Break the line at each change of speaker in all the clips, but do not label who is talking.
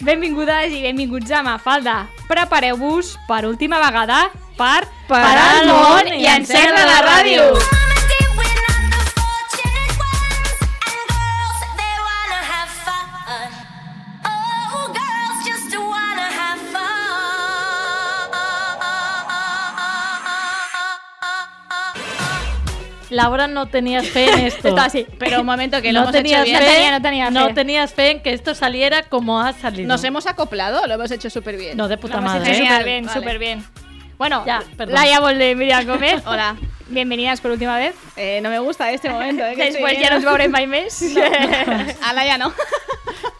Benvingudes i benvinguts a Mafalda. Prepareu-vos per última vegada per
Parar el món i encendre la ràdio.
Laura, no tenías fe en esto.
Esto así, pero un momento que lo hemos hecho bien.
fe,
No tenía- no tenía
no
fe.
tenías fe en que esto saliera como ha salido.
Nos hemos acoplado, lo hemos hecho súper bien.
No, de puta
Lo hemos
madre.
hecho
¿eh?
súper bien,
Vale.
súper bien. Bueno,
Ya, perdón.
Laia Bolde y Miriam Gómez.
Hola.
Bienvenidas por última vez.
Eh, no me gusta este momento, eh, que
Después
estoy
ya
bien.
nos veurem mai més.
A la ya no.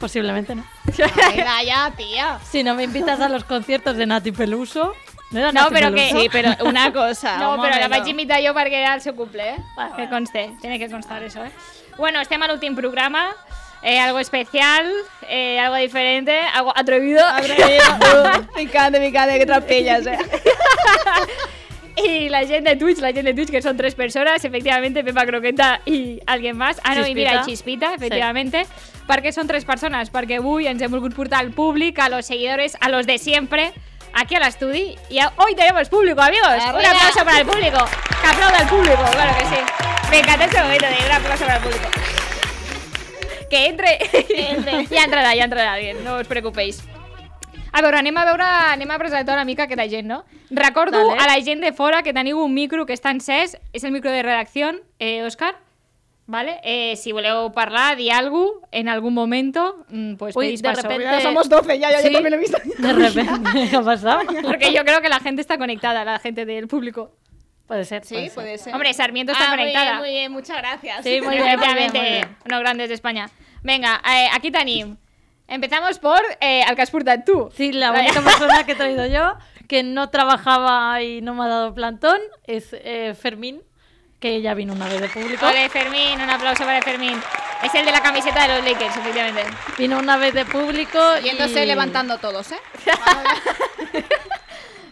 Posiblemente no.
Venga, ya, tía.
Si no me invitas a los conciertos de Nati Peluso. No era
No,
Nati
pero
Peluso?
que-
Sí, pero una cosa.
No,
un
però la
momento.
vaig imitar jo perquè era el seu cumple, eh?
Vale,
que
vale.
conste, tiene que constar eso, eh? Bueno, estem a l'últim programa, eh, algo especial, eh, algo diferente, algo atrevido.
Uh, me encanta, me encanta, qué trapellas, eh.
Y la gente de Twitch, la gente de Twitch, que son tres personas, efectivamente, Pepa Croqueta y alguien más. Ah, no, i mira, i Chispita,
Chispita,
efectivamente. Perquè són tres persones, perquè avui ens hem volgut portar al públic, a los seguidores, a los de siempre, aquí a l'estudi. I a- hoy tenemos público, amigos. Un
Arriba.
aplauso para el público. Que aplauda el público, claro que sí. Me encanta este momento de un aplauso para el público. Que entre. ja entrarà, ja entrarà, bien, no us preocupéis. A veure, anem a veure, anem a presentar una mica aquesta gent, no? Recordo
Dale.
a la gent de fora que teniu un micro que està encès, és el micro de redacció, eh, Òscar? Vale? Eh, si voleu parlar, dir alguna cosa, en algun moment, mm, pues
Uy,
pedís
de
paso.
repente-
Ya somos 12, ya, ya, yo
Sí.
también lo he visto.
De repente, ¿qué ha pasado?
Porque yo creo que la gente está conectada, la gente del público.
Puede ser.
Pues Sí, puede ser.
Hombre, Sarmiento está
Ah, muy
conectada.
bien, muy bien, muchas gracias.
Sí, muy bien, muy bien,
Efectivamente,
muy bien.
unos grandes de España. Venga, eh, aquí tenim. Empezamos por eh, el que has portat tu.
Sí, la única persona que he traído yo que no trabajaba y no me ha dado plantón es eh, Fermín, que ya vino una vez de público.
Ole, Fermín, un aplauso para Fermín. Es el de la camiseta de los Lakers, efectivamente.
Vino una vez de público.
Yéndose
y...
levantando todos, eh.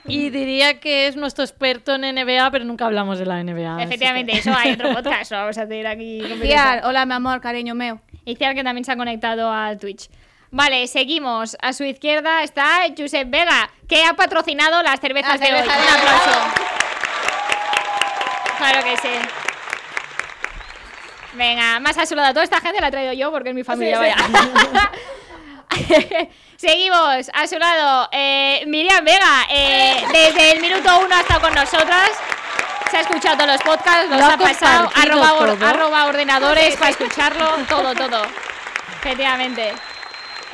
Y diría que es nuestro experto en NBA, pero nunca hablamos de la NBA.
Ah,
así que-
Efectivamente, eso hay otro podcast, lo vamos a tener aquí. complicado.
Tía, hola, mi amor, cariño mío.
Y Ciar, que también se ha conectado al Twitch. Vale, seguimos. A su izquierda está Josep Vega, que ha patrocinado las cervezas
La
de hoy.
cerveza de
Un aplauso.
Alvarado.
Claro que sí. Venga, más a su lado. Toda esta gente la he traído yo porque es mi familia. vaya. Seguimos a su lado. eh, Miriam Vega, eh, desde el minuto uno ha estado con nosotras. Se ha escuchado todos los podcasts, nos
Lo ha
ha pasado. Ha
compartido
robado, or-
todo.
ha robado ordenadores para escucharlo. Todo, todo. Efectivamente.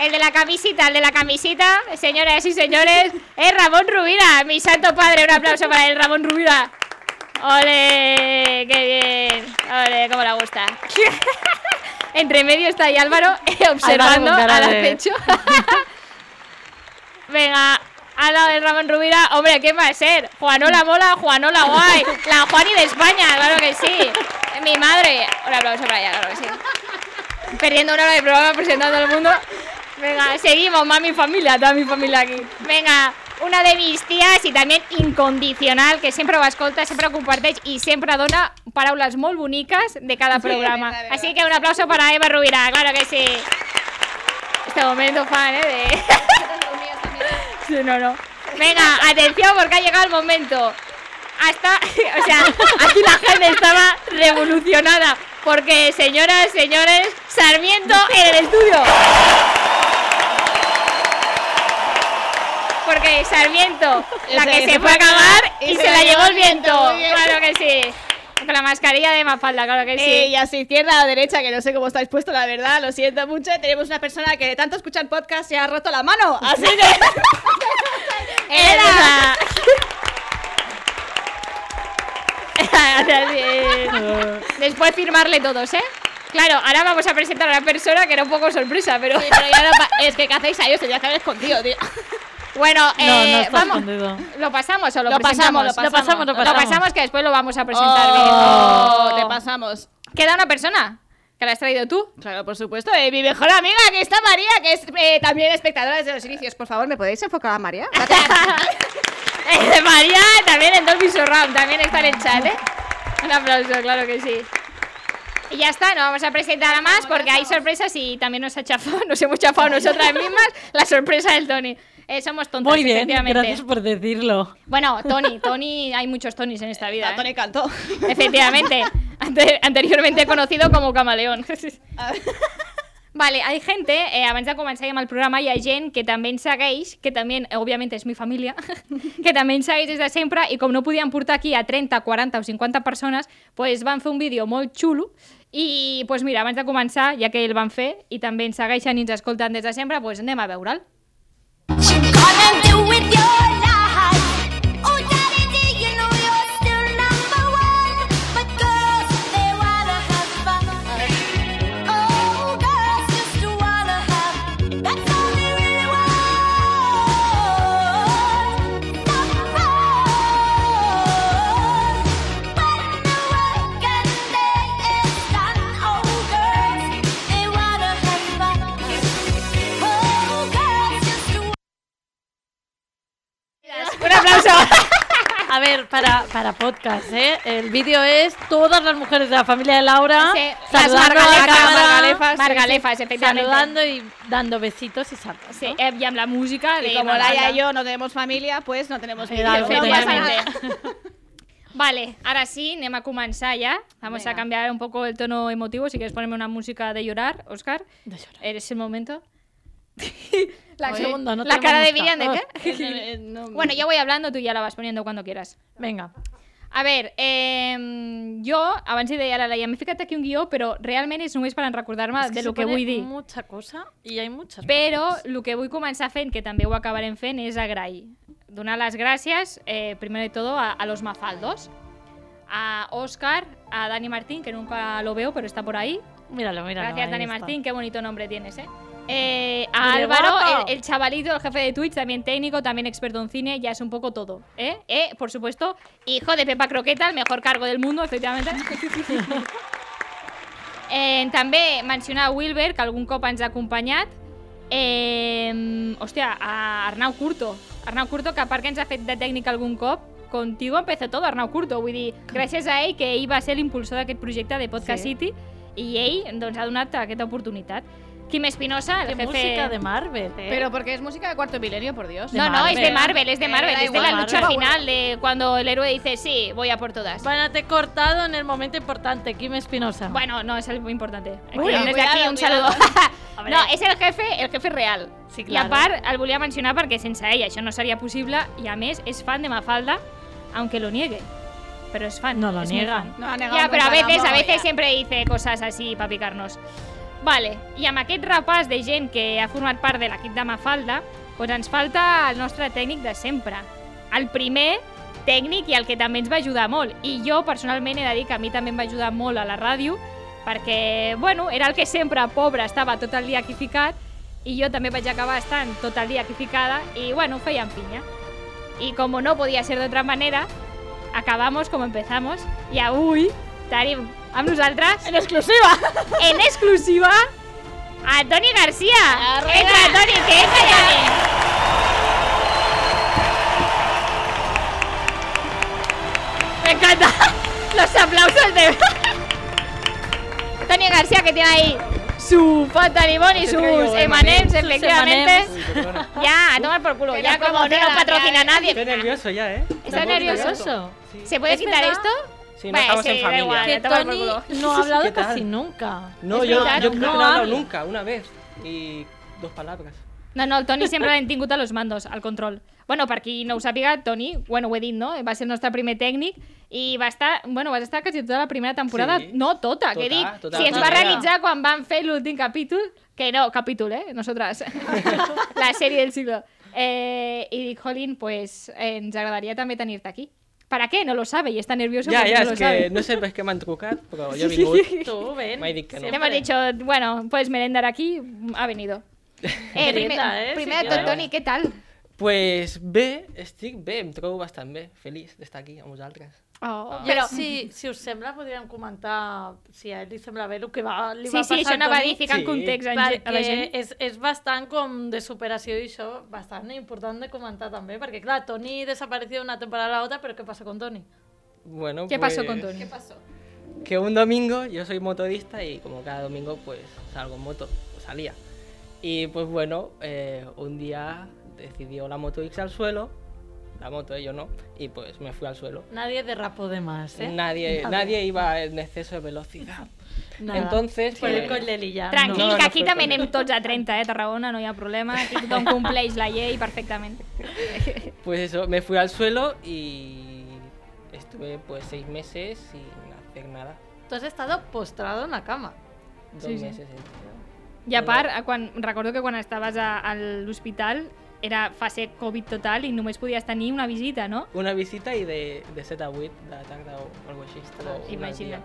El de la camisita, el de la camisita, señoras y señores, es Ramón Rubira, mi santo padre. Un aplauso para el Ramón Rubira. ¡Ole! ¡Qué bien! ¡Ole! ¡Cómo le gusta! Entre medio está ahí Álvaro, observando
con cara
al
de-
acecho. Venga, al lado de Ramón Rubira, hombre, ¿qué va a ser? Juanola mola, Juanola guay, la Juani de España, claro que sí. Mi madre, un aplauso para ella, claro que sí. Perdiendo una hora de programa presentando al mundo. Venga, seguimos, más mi familia, toda mi familia aquí. Venga, una de mis tías i també incondicional, que sempre ho escolta, sempre ho comparteix i sempre dona paraules molt boniques de cada programa.
de verdad.
Así que un aplauso para Eva Rubira, claro que sí. Este momento fan, ¿eh? De... Sí, no, no. Venga, atención porque ha llegado el momento. Hasta, o sea, aquí la gente estaba revolucionada. Porque, señoras, señores, Sarmiento en el estudio. Porque Sarmiento, la
Esa
que
que
se fue a acabar y se la llevó el viento.
muy bien.
Claro que sí. Con la mascarilla de Mafalda, claro que
Eh, y
sí.
a su izquierda o derecha, que no sé cómo estáis puesto, la verdad, lo siento mucho. Tenemos una persona que de tanto escuchar podcast se ha roto la mano. Así que.
Era. Así es.
Eh,
Después firmarle todos, ¿eh? Claro, ahora vamos a presentar a la persona que era un poco sorpresa, pero...
Sí, pero ya no pa- es que ¿qué hacéis ahí? Os tendría que haber escondido, tío.
Bueno,
no, no
eh,
está
vamos.
escondido.
¿Lo pasamos o lo,
Lo
presentamos?
pasamos,
lo pasamos, lo pasamos.
que después lo vamos a presentar
Oh,
bien.
Te pasamos.
Queda una persona que la has traído tú.
Claro, por supuesto. eh, mi mejor amiga, que está María, que es eh, también espectadora desde los inicios. Por favor, ¿me podéis enfocar a María?
Eh, María también en Dolby Surround, también está en el chat, ¿eh? Un aplauso, claro que sí. Y ya está, no vamos a presentar a más porque hay sorpresas y también nos ha chafado, nos hemos chafado nosotras mismas la sorpresa del Tony. Eh, somos tontas,
Muy bien,
efectivamente.
gracias por decirlo.
Bueno, Tony, Tony, hay muchos Tonys en esta vida. ¿eh?
Tony cantó.
Efectivamente, Ante- anteriormente conocido como Camaleón. Vale, hay gente, eh, abans de començar ja amb el programa, hi ha gent que també ens segueix, que també, eh, òbviament, és mi família, que també ens segueix des de sempre, i com no podien portar aquí a 30, 40 o 50 persones, pues, van fer un vídeo molt xulo, i pues, mira, abans de començar, ja que el van fer, i també ens segueixen i ens escolten des de sempre, pues, anem a veure'l. Un aplauso!
A ver, para, para podcast, ¿eh? El vídeo es todas las mujeres de la familia de Laura
Sí, las
Ah, saludando a la
margalefas,
cámara,
margalefas, margalefas, efectivamente.
saludando y dando besitos y saltos.
Sí, eh, i amb la música de
Y como
Margalda.
Laia y yo no tenemos familia, pues no tenemos
Sí,
vídeo.
algo
No pasa
tenemos.
nada.
Vale, ahora sí, anem a començar ya. Vamos a cambiar un poco el tono emotivo. Si quieres ponerme una música de llorar, Oscar,
De llorar.
eres el momento.
Un segundo, no
la
tenemos
cara de
música. Ah.
Miriam de qué?
Eh, no-
Bueno, yo voy hablando, tú ya la vas poniendo cuando quieras.
Venga.
A ver, eh, jo abans hi deia a la Laia, m'he ficat aquí un guió, però realment és només per recordar-me
Es
Ah, de
que
lo
se
que
pone
vull dir.
Mucha cosa y hay muchas
Però el que vull començar fent, que també ho acabarem fent, és agrair. Donar les gràcies, eh, primer de todo, a, a los mafaldos, a Oscar, a Dani Martín, que nunca lo veo, pero está por ahí.
cosas. Míralo, míralo.
Gracias,
ahí
Dani
está.
Martín, qué bonito nombre tienes, ¿eh? Eh, a
Y de
Álvaro,
guapo.
el, el chavalito, el jefe de Twitch, también técnico, también experto en cine, ya es un poco todo, ¿eh? Eh, por supuesto, hijo de Pepa Croqueta, el mejor cargo del mundo, efectivamente. eh, també mencionar a Wilber, que algun cop ens ha acompanyat. Eh, hòstia, a Arnau Curto. Arnau Curto, que a part que ens ha fet de tècnic algun cop, contigo empezó todo, Arnau Curto. Vull dir, gràcies a ell, que ell va ser l'impulsor d'aquest projecte de Podcast
Sí.
sí. City, i ell doncs, ha donat aquesta oportunitat. Quim Espinosa, el
Qué
jefe...
música de Marvel, eh.
Pero porque es música de cuarto milenio, por Dios.
de
no, no, es de
Marvel.
Marvel, es de
Eh,
Marvel,
da
es de la
igual,
lucha
Marvel.
final, de cuando el héroe dice, sí, voy a por todas.
Van a te cortado en el momento importante, Kim Espinosa.
Bueno, no, es algo importante. Aquí,
Uy,
desde
cuidado,
aquí un saludo.
cuidado.
no, és el jefe, el jefe real.
Sí,
I a
claro.
part, el volia mencionar perquè sense ella això no seria possible i a més és fan de Mafalda, aunque lo niegue. Pero es fan.
No lo
es muy
niega.
fan.
No ha negado
Ya, pero a
nunca
veces, a
tampoco,
veces
ya.
siempre dice cosas así para picarnos. Vale, i amb aquest repàs de gent que ha format part de l'equip de Mafalda, doncs ens falta el nostre tècnic de sempre. El primer tècnic i el que també ens va ajudar molt. I jo, personalment, he de dir que a mi també em va ajudar molt a la ràdio, perquè, bueno, era el que sempre, pobre, estava tot el dia aquí ficat, i jo també vaig acabar estant tot el dia aquí ficada, i, bueno, feien pinya. Y como no podía ser de otra manera, acabamos como empezamos. Y avui tenim amb nosaltres... En exclusiva! En exclusiva a Toni García.
Arriba!
Entra, Toni, que entra, Toni. Me encanta los aplausos de... Toni García que tiene ahí su pata de limón y sus emanems, efectivamente.
M&Ms.
Ya, a tomar por culo.
Que
Ya
nos
como no
promocionan,
nos patrocina
ya,
nadie.
Estoy nervioso ya, ¿eh?
Está nervioso.
Curioso.
¿Se puede
¿Es
quitar
verdad?
esto?
Sí, no
Bueno,
estamos
sí,
en
da
familia.
igual.
Que
a tomar por
Tony
culo.
no ha hablado
¿Qué tal?
casi nunca.
No,
Es
yo,
verdad, no
yo creo que no he hablado
habla.
nunca, una vez. Y dos palabras.
No, no, el Toni sempre l'hem tingut a los mandos, al control. Bueno, per qui no ho sàpiga, Toni, bueno, ho he dit, no? Va ser el nostre primer tècnic i va estar, bueno, vas estar quasi tota la primera temporada,
Sí.
no tota,
Tota,
que dic,
tota,
si ens va
tota.
realitzar quan vam fer l'últim capítol, que no, capítol, eh, nosaltres, la sèrie del siglo. Eh, I dic, Jolín, pues eh, ens agradaria també tenir-te aquí. ¿Para qué? No lo sabe y está nervioso
Ya,
porque
ya,
no
es
lo
que
sabe.
no sé pues, qué me han trucado, pero yo vengo hoy.
Tú, ven.
M'ha dit que no.
Le hemos dicho, bueno, puedes merendar aquí, ha venido. Eh,
Merienda, eh,
primero,
sí,
Toni,
claro.
¿qué tal?
Pues bé, estic bé, em trobo bastant bé, feliç d'estar aquí amb vosaltres.
Oh.
Però... Si, si us sembla, podríem comentar si a ell li sembla bé el que va, li
Sí,
va
sí,
passar
això anava a
Toni, eh,
dir, ficant
Sí.
context a,
perquè
a la gent.
és, és bastant com de superació i això bastant important de comentar també, perquè clar, Toni desapareció d'una temporada a l'altra, però què passa con Toni?
Bueno,
¿Qué
pues,
pasó con Tony?
Que un domingo, yo soy motorista y como cada domingo pues salgo en moto, o salía. Y pues bueno, eh, un día decidió la moto irse al suelo, la moto, eh, yo no, y pues me fui al suelo.
Nadie derrapó de más, ¿eh?
Nadie, nadie iba en exceso de velocidad.
Nada.
Entonces, eh,
Fue el
pues,
coll de l'illa.
Tranquil,
No, no,
que
no
aquí
fue
també
Tony.
anem tots a 30, eh, a Tarragona, no hi ha problema. Aquí tothom compleix la llei perfectament.
pues eso, me fui al suelo y estuve pues seis meses sin hacer nada.
No. Tú has estado postrado en la cama.
Dos
Sí, sí.
meses entero.
I a part, a quan, recordo que quan estaves a, a l'hospital era fase Covid total i només podies tenir una visita, no?
Una visita y de, de 7 a 8 de la tarde o algo así. o una al
imagina't.
dia.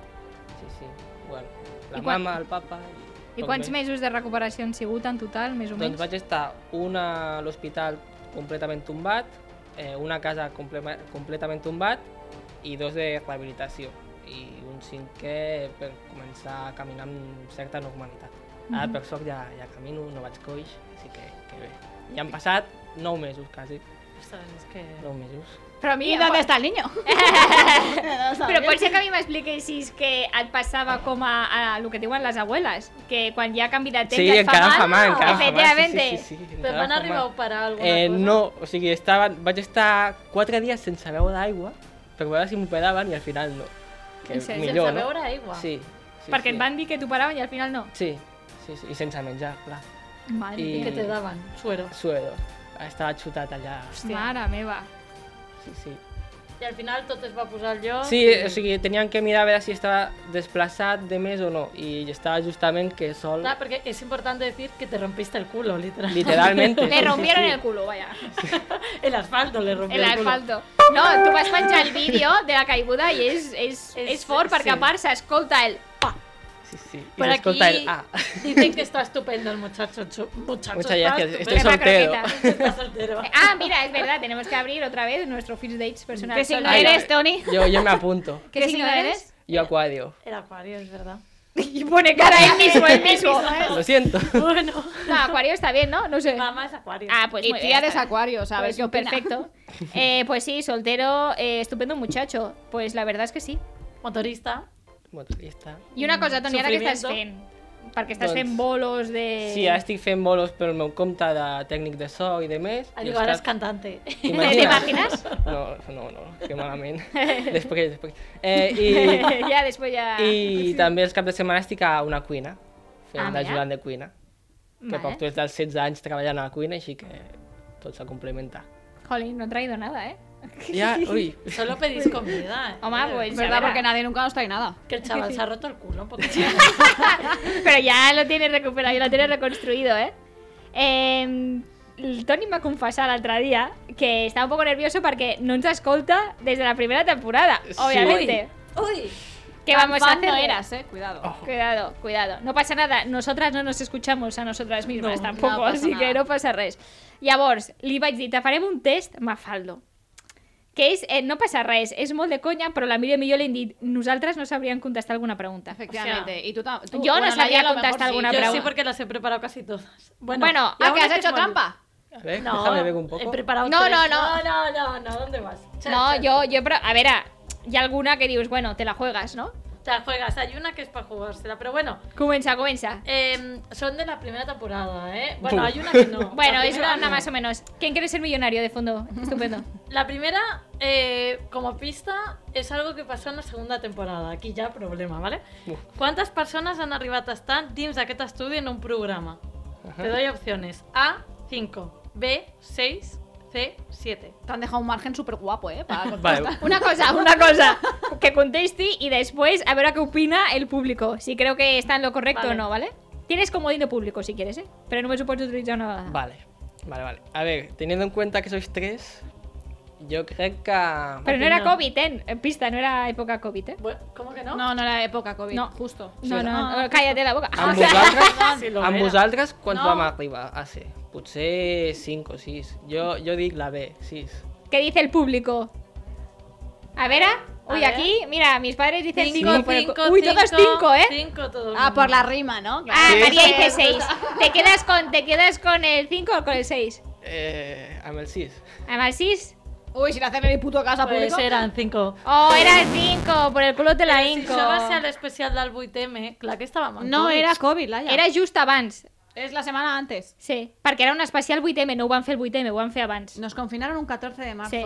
Sí, sí. Bueno, la
I quan-
mama, el papa...
I quants mesos de recuperació han sigut en total, més o
Doncs
menys?
vaig estar una a l'hospital completament tombat, eh, una a casa comple completament tombat i dos de rehabilitació i un cinquè per començar a caminar amb certa normalitat. Ara,
Mhm.
per sort, ja, ja camino, no vaig coix, així que, que bé. Ja han passat 9 mesos, quasi.
Ostras, es que...
9 mesos.
Però a mi,
¿Y dónde está el niño?
Però pot ser que a mi m'expliquessis que et passava com a, a el que diuen les abueles, que quan hi ha canvi de temps
Sí,
et
encara
fa mal.
fa mal, encara fa mal.
Efectivamente.
sí, sí,
Te van
encara fa
a
mal.
arribar a parar alguna
Eh,
cosa?
no, o sigui, estaven, vaig estar 4 dies sense beure d'aigua per veure si m'ho pedaven i al final no. Que
En sèrio?
millor,
Sense
no?
beure aigua.
Sí, sí.
Perquè
sí.
et van dir que t'ho paraven i al final no.
Sí, sí, sí, i sense menjar, clar.
Mare,
I-
¿Y qué te daban? Suero.
Suedo. Estava xutat allà.
mare meva.
Sí, sí.
Y al final todo es va posar yo.
Sí, o sigui, tenien que mirar a veure si estava desplaçat de més o no. I estava justament que sol...
Claro, porque es importante decir que te rompiste el culo, literal.
Literalmente.
Le rompieron el culo, vaya.
El asfalto le rompió
El
el, culo.
asfalto. No, tu vas penjar el vídeo de la caiguda i és, és, és,
És-
fort, perquè a
sí.
part s'escolta el... Pa.
Sí, sí. I
Por aquí
s'escolta el... Ah,
dicen que está estupendo el muchacho. chu- muchacho
muchas
está
gracias,
estupendo.
estoy soltero.
croqueta.
Está soltero.
Ah, mira, es verdad, tenemos que abrir otra vez nuestro first dates personal.
¿Qué signo
Ay,
eres, Tony?
Jo, jo m'apunto.
¿Qué, signo eres?
Jo acuadio.
El acuario, es verdad.
Y pone cara el mismo, el mismo.
Lo siento.
Bueno,
No, Acuario está bien, ¿no? No sé.
mamá es acuario.
Ah, pues
Y
muy
tía
bien,
de
está bien.
Acuario, ¿sabes?
Pues,
qué opina?
Perfecto. Eh, pues sí, soltero, eh, estupendo muchacho. Pues la verdad es que sí.
Motorista.
Motorista.
I una cosa, Toni, ara què estàs fent?
Sofrimiento.
Perquè estàs
Doncs-
fent bolos de...
Sí, ara estic fent bolos pel meu compte de tècnic de so i de més.
Ah,
i
Digo, ahora es
està-
cantante.
¿Te imaginas?
No, no, no, que malament. Després, després. Eh, i,
ja, després ja...
I també els caps de setmana estic a una cuina, fent
Ah,
ah,
mira.
d'ajudant de cuina. Que
Vale.
poc tu ets dels 16 anys treballant a la cuina, així que tot s'ha complementat.
Jolín, no he traído nada, eh?
Ja, ui,
Solo pedís comida. eh.
Home, pues...
Es
ya
verdad,
verá.
porque nadie nunca nos trae nada.
Que el chaval se ha roto el culo un poco.
Pero ya lo tiene recuperado, ya lo tiene reconstruido, eh? eh el Toni m'ha confessat l'altre dia que estava un poco nervioso perquè no ens escolta des de la primera temporada,
Sí.
obviamente.
Uy,
¿Qué
Tan
vamos a
fan
hacer?
no eras, eh. Cuidado.
Cuidado, cuidado. No pasa nada, nosotras no nos escuchamos a nosotras mismas
No,
tampoco,
no passa
així que
nada.
no passa res. Llavors, li vaig dir, te farem un test Mafaldo. Que és, eh, no passa res, és molt de conya, però la Míriam i jo li hem dit, nosaltres no sabríem contestar alguna pregunta.
Efectivamente. y tú, tam- tú-
yo no
bueno,
sabía
Nadia a lo
contestar
mejor sí.
alguna
yo
Yo
sí
pregunta.
porque las he preparado casi todas.
Ah,
Bueno,
Bueno,
y
Ah,
aún
que has
es
hecho
es bueno.
trampa.
a veure,
No,
déjame ver un
he
poco.
preparado
No,
tres.
no, no.
no, no, no, ¿dónde vas? Cha,
No,
cha,
jo, jo, però, a veure, hi ha alguna que dius, bueno, te la juegas, no?
Te la juegas, hay una que es para jugársela, pero bueno,
Comença, comença.
eh, son de la primera temporada, ¿eh? Bueno,
Pum.
hay una que no.
Bueno,
La
es
primera
una
no.
más o menos. ¿Quién quiere ser millonario de fondo? Estupendo.
La primera, eh, como pista, es algo que pasó en la segunda temporada. Aquí ya problema, ¿vale?
Uf.
¿Cuántas personas han arribat a estar dins d'aquest estudi en un programa? Te doy opciones. A, 5. B, 6. C, 7.
Te han dejado un margen súper guapo, eh. Para
Vale,
Una cosa, una cosa. Que conteste y después a ver a qué opina el público. Si creo que está en lo correcto o
Vale.
no, ¿vale? Tienes comodín de público si quieres, ¿eh? Pero no me supuesto utilizar una vegada.
vale, vale, vale. A veure, teniendo en cuenta que sois tres, jo crec que...
Pero no era
Opina.
COVID, ¿eh? En Pista, no era época COVID, ¿eh?
Bueno, ¿Cómo que no?
No, no era época COVID.
No.
justo.
No, no,
Ah.
no, cállate la boca.
Amb vosaltres,
Sí, lo
amb
era.
vosaltres quants
No.
vam arribar a ser? Potser 5 o 6. Jo, jo dic la B, 6.
Ah, ¿Qué dice el público? A ver, ah,
A
uy,
ver.
aquí, mira, mis padres dicen 5.
Cinco, cinco,
Uy, todas 5, ¿eh?
5 todo el
Ah, por
mundo.
la rima, ¿no?
Ah,
Sí.
María dice 6. ¿Te quedas con, te quedas con el 5 o con el 6?
Eh, amb el 6.
Además, 6.
Uy, si lo hacen en mi puto casa
Pues
público.
eren 5.
Oh, era el 5, por el culo de la
Si
Inco.
això va ser l'especial del 8M, clar que estàvem en
No,
Covid.
era COVID, Laia.
Era just abans.
Es la semana antes.
Sí, perquè era un especial 8M, no ho van fer el 8M, ho van fer abans.
Nos confinaron un 14 de marzo.
Sí.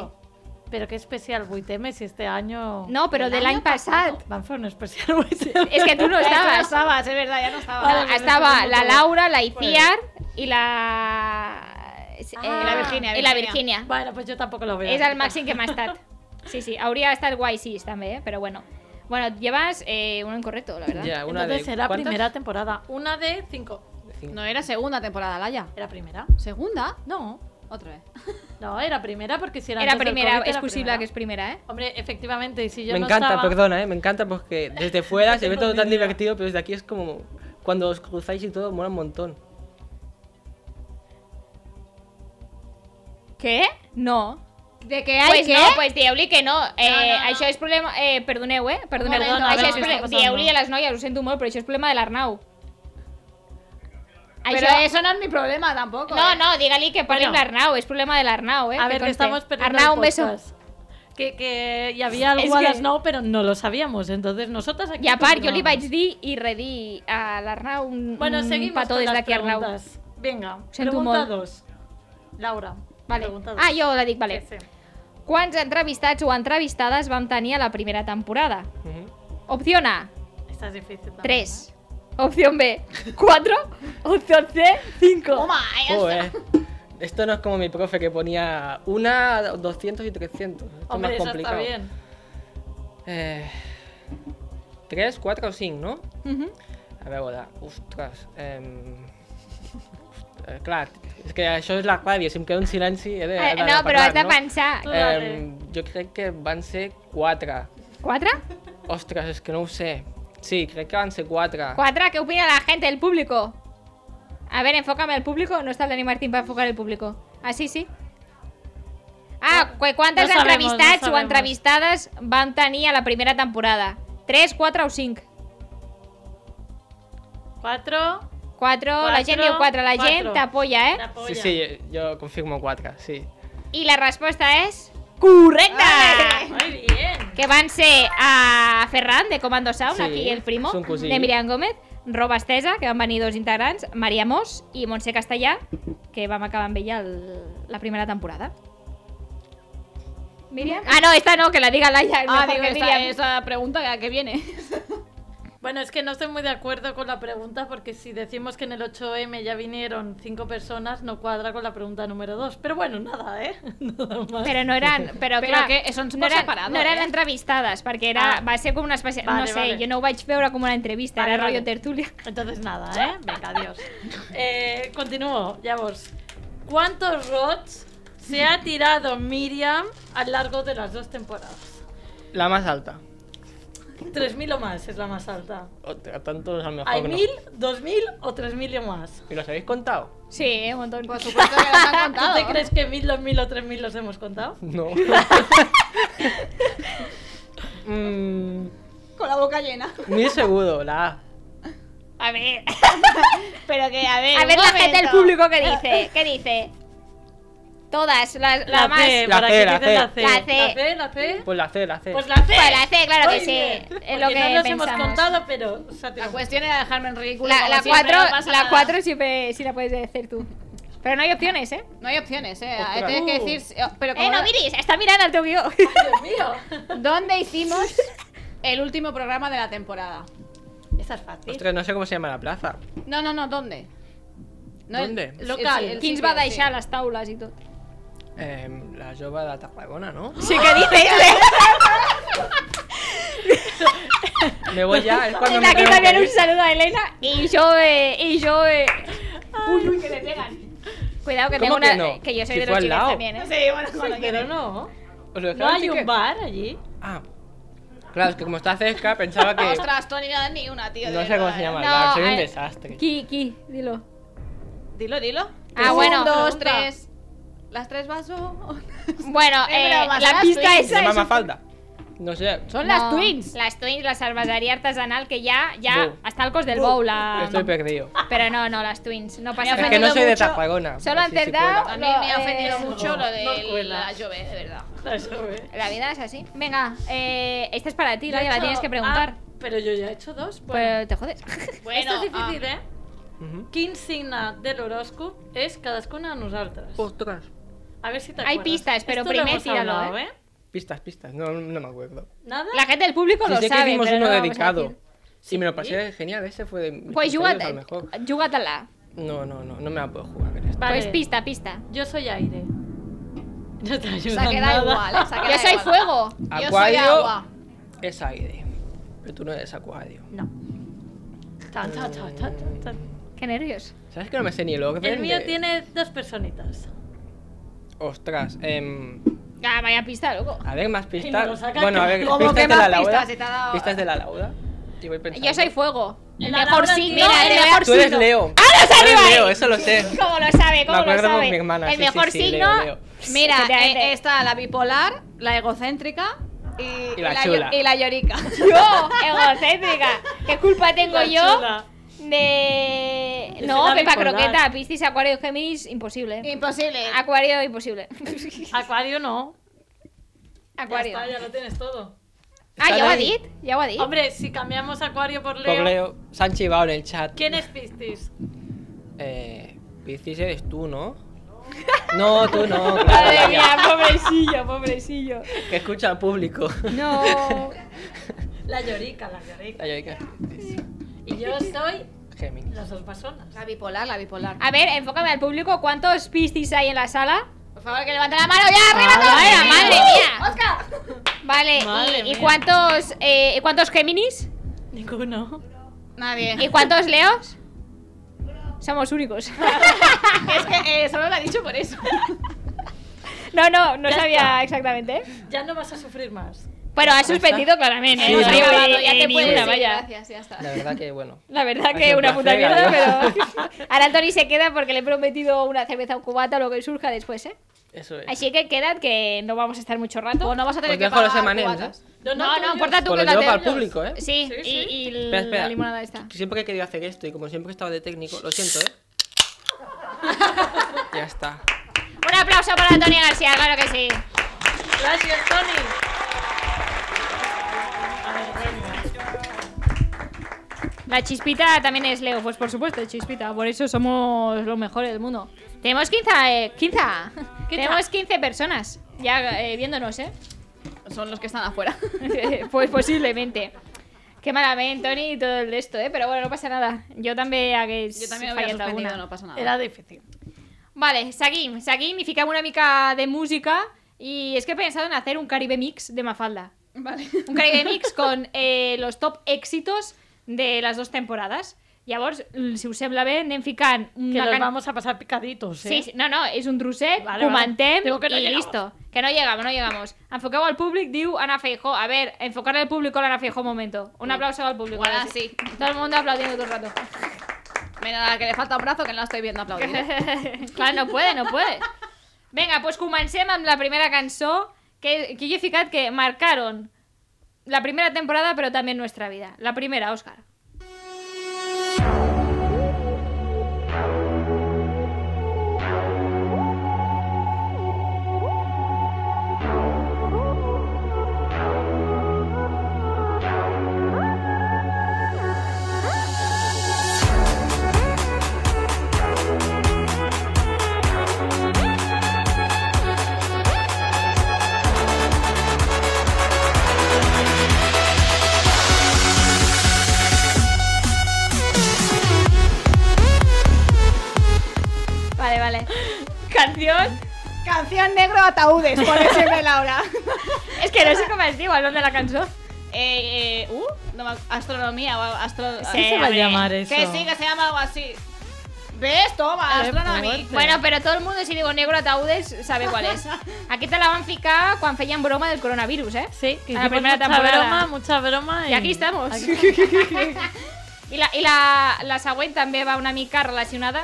Pero qué especial 8M si este año...
No, però de l'any passat.
Van fer un especial 8M.
És que tu no
Ya, es que no
estabas.
estabas, es verdad, ya no
Ah,
estabas.
estaba la Laura, la
Pues-
Iciar y la... eh,
Y la Virginia,
I la
Virginia.
Virginia.
Bueno, pues yo tampoco lo veo.
És el màxim que m'ha estat. Sí, sí, hauria estat guai, sí, també, eh? però bueno. Bueno, llevas eh, un incorrecto, la verdad.
Ja, una
Entonces
de...
era
¿Cuántas?
primera temporada. Una de cinco.
De cinc.
No era segunda temporada, Laia.
¿Era primera?
¿Segunda?
No.
Otra vez.
No, era primera porque si era
Era
antes del
primera,
COVID,
es
era
posible que es
primera.
primera, ¿eh?
Hombre, efectivamente, y si yo
Me
no
encanta,
estaba...
perdona, eh, me encanta porque desde fuera se ve
tengo
todo
ni
tan
idea.
divertido, pero desde aquí es como cuando os cruzáis y todo mola un montón.
Què? No.
¿De qué
pues no, pues dieu-li que no. Eh,
no, no.
Això és problema... Eh, perdoneu, eh? Perdoneu.
Un moment,
això
no,
és
no,
problema...
no.
Dieu-li a les noies, ho sento molt, però això és problema de l'Arnau.
Pero eso no es mi problema tampoco.
No,
¿eh?
no, dígale que parli amb
Bueno.
l'Arnau, és problema de l'Arnau, eh?
A ver, que
conste.
estamos perdiendo
Arnau,
el
un beso.
podcast. Que, que y había algo
Es
a
que-
las no, pero no lo sabíamos. Entonces nosotras aquí...
I a mm, part, jo li vaig dir
continuamos.
i redí a l'Arnau un,
Bueno,
un
seguimos
petó
con
des
las
d'aquí, Arnau.
preguntas. Venga,
Sento
pregunta
molt.
dos. Laura,
Vale.
pregunta dos.
Ah, jo la dic, vale.
Sí, sí.
Quants entrevistats o entrevistades vam tenir a la primera temporada?
Ujú.
Opció A,
Esta es difícil también, ¿eh?
3. Opción B, 4. Opción C, 5.
Toma, ya está.
Joder. Esto no es como mi profe que ponía una, 200 y 300. Esto
¿eh?
es
Hombre,
más
eso
complicado.
está bien.
Eh, 3, 4 o 5, ¿no?
Ujú.
A veure, ostres... Eh, clar, és que això és la ràdio, si em quedo en silenci he de, he
Eh,
de
no, però has de
no?
pensar.
Tu
Eh, jo crec que van ser 4.
4?
Ostres, és que no ho sé. Sí, crec que van ser 4.
4, ¿qué opina la gente, el público? A ver, enfócame al público. No está Dani Martín para enfocar el público. Así sí. Ah, cu- quantes
No sabemos, no
entrevistats o
sabemos.
entrevistades van tenir a la primera temporada? 3, 4 o 5?
4,
4, la
Quatre,
gent diu 4, la
quatre.
gent t'apoya, eh?
la polla.
Sí, sí, jo confirmo 4, sí.
I la resposta és... Correcta!
Muy bien.
Que van ser a Ferran, de Comando Sound,
Sí,
aquí el primo,
són cosí.
de Miriam Gómez, Roba Estesa, que van venir dos integrants, Maria Mos i Montse Castellà, que vam acabar amb ella el, la primera temporada. Miriam? Ah, no, esta no, que la diga Laia, mejor
Ah, digo,
que
esa,
Miriam.
esa pregunta que viene.
Bueno, es que no estoy muy de acuerdo con la pregunta porque si decimos que en el 8M ya vinieron cinco personas, no cuadra con la pregunta número 2. Pero bueno, nada, ¿eh? Nada más.
Però no eren... Però,
Però
clar,
que són
no
per
eren,
separado,
no eren
eh?
entrevistades, perquè era,
Ah.
va ser com una espècie...
Vale,
no sé,
vale.
jo no ho vaig veure com una entrevista,
Vale,
era
vale.
rotllo tertúlia.
Entonces nada, ¿eh? Venga, adiós. Eh, continúo, ya vos. ¿Cuántos rots se ha tirado Miriam a lo largo de las dos temporadas?
La más alta.
3.000 o más es la más alta.
Otra, tanto a lo mejor
¿Hay
no.
1.000, 2.000 o 3.000 o más?
¿Y los habéis contado?
Sí, eh, un montón.
Por supuesto que nos han
¿Tú
contado.
te crees que 1.000, 2.000 o 3.000 los hemos contado?
No. mm,
Con la boca llena.
muy seguro, la A.
A ver...
Pero que, a ver.
A
un
ver la gente del
momento.
público que dice, ¿qué dice? Todas, la, la,
La,
más...
C,
La
para
C,
que
la
dicen
C.
la C.
La C.
La C, la C.
Pues la C, la C.
Pues la C.
Pues la C, claro que
Muy
sí,
bien.
es lo
Porque
que
no nos
pensamos.
hemos
Ah, pues,
contado, pero... o sea,
La
tenemos-
cuestión era dejarme en ridículo.
La,
como
la
siempre,
cuatro,
no pasa
la
nada.
cuatro siempre sí la puedes decir tú. Pero no hay opciones, ¿eh?
No hay opciones, eh.
Ostras.
Tienes que
Uh.
decir. Pero como
Eh, no miris, está mirando al teu guió.
Dios mío.
¿Dónde hicimos el último programa de la temporada?
Esta es fácil.
Ostras, no sé cómo se llama la plaza.
No, no, no, ¿dónde?
¿Dónde?
el- el
Local.
sí, el
Quins
sitio,
va
sí.
deixar les taules i tot.
Em, la Jova de Tarragona, ¿no?
Sí que dice, eh.
Me voy ya, es cuando
desde
me
aquí
tengo que
también
ir.
un saludo a Elena y yo, eh, y yo... Eh... Uy, uy, que me pegan. Cuidado que tengo
¿Cómo que
una...
no?
que yo soy
Si
de
fue
los
al
chicles
lado.
también, ¿eh?
Sí, bueno,
Sí, pero no.
¿Os lo
¿No
dejaron
hay
así que-
un bar allí?
Ah. Claro, es que como está cerca, pensaba que...
Ostras, Tony, no ni una, tío. de
no sé cómo
verdad,
se
eh.
llama el
No,
bar, soy un
eh,
desastre.
Qui, qui, dilo.
Dilo, dilo.
Ah, bueno.
Un, eh. dos,
Pregunta.
tres. Las tres vaso.
Bueno,
Es
eh,
broma, son
la
las
pista
twins.
es...
Se llama Mafalda. No sé.
Son
No,
las twins.
Las twins, la cerveseria artesanal, que ya, ya,
Bu.
hasta Alcos del Bou la...
Estoy perdido.
Pero no, no, las twins, no pasa
Es
nada.
que no
ofendido
soy de
mucho.
Tarragona.
Solo han
así sí
tardado-
cuela.
A mí me ha
Lo-
ofendido
eh,
mucho lo de
no cuela.
la lluvia, de verdad.
Eso, eh.
La vida es así. Venga, eh, esta es para ti,
Yo he
Laia, la
hecho-
tienes que preguntar.
Ah, pero yo ya he hecho dos.
Pues
Bueno,
te jodes.
esto es difícil,
ah,
¿eh?
Ujú.
Quin signe de l'horòscop és cadascuna de nosaltres?
Ostras.
A ver si te
Hay
acuerdas.
pistas, pero
Esto lo
primer
hemos
tíralo,
hablado,
¿eh?
Pistas, pistas. No, no me acuerdo.
Nada?
La gente del público
Sí,
lo
sé que
sabe,
hicimos
pero
uno
no lo vamos a
dedicado.
decir.
Sí, me lo pasé genial. Ese fue de mis
Pues
preferidos, a lo mejor.
júgate- júgatela.
No, no, no. No me la puedo jugar con esta.
Vale.
Pues pista, pista.
Yo soy aire. No te
Se
ayuda
ha quedado
nada.
igual, eh, se ha
Yo
quedado
soy
igual.
fuego.
Yo soy
Acuario.
agua.
Es aire. Pero tú no eres acuario.
No.
¿eh?
Tan, tan, tan, tan, tan, tan.
Qué nervios.
¿Sabes que no me sé ni el orden?
El mío
de-
tiene dos personitas.
Ostras. em,
Ah, vaya pista, loco.
a ver, más
Y no lo
pistas.
saca.
Bueno, a ver,
¿Cómo
pistas
que
de
más
la lauda.
pistas? Si te ha dado-
Pistas de la lauda. Y voy pensando.
Yo soy fuego. El
La
mejor
Laura
signo.
tiene-
Mira, el
Tú
mejor
Tú eres
signo.
Leo.
¡Ah, lo
Tú eres
sabía!
Leo, eso lo sé.
¿Cómo lo sabe? ¿Cómo
Me acuerdo
lo
con
sabe?
mi hermana,
el
sí,
mejor
sí, sí,
signo.
Leo, Leo.
Mira,
Eh,
eh, eh,
está la bipolar, la egocéntrica y,
Y la
y
chula.
y la llorica.
yo, egocéntrica. ¿Qué culpa tengo
La
yo
chula.
de.
Es
No,
una
Pepa
bipolar.
Croqueta, Piscis, Acuario, Géminis, imposible.
Imposible.
Acuario, imposible.
Acuario no.
Acuario.
Ya está, ya lo tienes todo.
Ah, ja
Están
ho ha
ahí.
dit, ja ho ha dit.
Hombre, si cambiamos Acuario por Leo.
Por Leo. Se han chivado en el chat.
¿Quién es Piscis?
Eh, Piscis eres tú, ¿no? No, tú no. claro,
Madre
vaya.
mía, pobrecillo, pobrecillo.
Que escucha al público.
No.
La llorica, la llorica.
Ay, ay, que-
Y yo soy
Géminis.
las dos personas.
La bipolar, la bipolar.
A ver, enfócame al público, ¿cuántos pistis hay en la sala? Por favor, que levanten la mano ya, arriba todos. Vaya, madre mía. Vale, y-
Madre
y,
mía.
cuántos eh, ¿y cuántos Géminis?
Ninguno.
Nadie.
¿Y cuántos Leos? Somos únicos.
Es que eh, solo la he dicho por eso.
No, no, no
Ya
sabía exactamente.
Ya no vas a sufrir más.
Bueno, ha suspendido claramente.
Sí,
¿eh?
no.
digo,
Ya
eh, eh, ni
puedes
una,
ir,
vaya.
Gracias, ya está.
La verdad que bueno.
La verdad
Ha
que
sido
una
un
puta
placer,
mierda, pero... Ahora Anthony se queda porque le he prometido una cerveza o cubata lo que surja después, ¿eh?
Eso es.
Así que quedad que no vamos a estar mucho rato.
O no vas a tener
Os
que
dejo los
pagar
M&Ms,
cubatas.
No, no,
tuyos.
importa Ah, tú
¿eh? Pues
que la
lo llevo para el
tengas.
público, ¿eh?
Sí,
Sí,
y,
sí.
y
Espera, espera.
la limonada está.
Siempre que he querido hacer esto y como siempre he estado de técnico, lo siento, ¿eh? ya está.
Un aplauso para Antonio García, claro que sí.
Gracias, Tony.
La chispita también es Leo, pues por supuesto, chispita. Por eso somos los mejores del mundo. Tenemos 15, eh, 15. Tenemos 15 personas ya eh, viéndonos, ¿eh?
Son los que están afuera.
pues posiblemente. Qué malamente, Tony, y todo el esto, ¿eh? Pero bueno, no pasa nada. Jo també hagués
Yo también había
fallat
suspendido,
alguna.
no pasa nada.
Era difícil.
Vale, seguim, seguim i fiquem una mica de música. Y es que he pensado en hacer un Caribe Mix de Mafalda.
Vale.
Un Caribe Mix con eh, los top éxitos de las dos temporadas. Llavors, l- si us sembla bé, anem ficant
Que
una
los
can-
vamos a pasar picaditos, ¿eh?
Sí, sí, no, no, és un trosset,
Vale,
ho
vale.
mantem
Digo que no
i
llegamos.
listo. Que no llegamos, no llegamos. Enfoqueu al públic, diu Ana Feijó. A ver, enfocar al público a Ana Feijó un momento. Un aplauso al público.
Ahora
ahora
sí.
Todo el mundo aplaudiendo todo el rato.
Mira, que le falta un brazo que no la estoy viendo aplaudir. ¿eh?
Clar, no puede, no puede. Vinga, doncs comencem amb la primera cançó que, que jo he ficat que marcaron la primera temporada però també nuestra vida. La primera, Òscar. Vale, vale. Canción...
Canción negro ataúdes, pone siempre Laura.
És que no sé com es diu el nom de la cançó.
eh, eh, uh, no me- astronomía o astro...
Sí, se va a
hombre.
llamar eso.
Que sí, que se llama algo así. ¿Ves? Toma,
Qué
astronomía.
fuerte.
Bueno, però tot el món, si digo negro ataúdes, sabe qual és. Aquí te la van ficar quan feien broma del coronavirus, eh?
Sí, que
A la
hicimos
primera
mucha
temporada.
broma, mucha broma.
I aquí estamos.
Aquí-
I la, i la, la següent també va una mica relacionada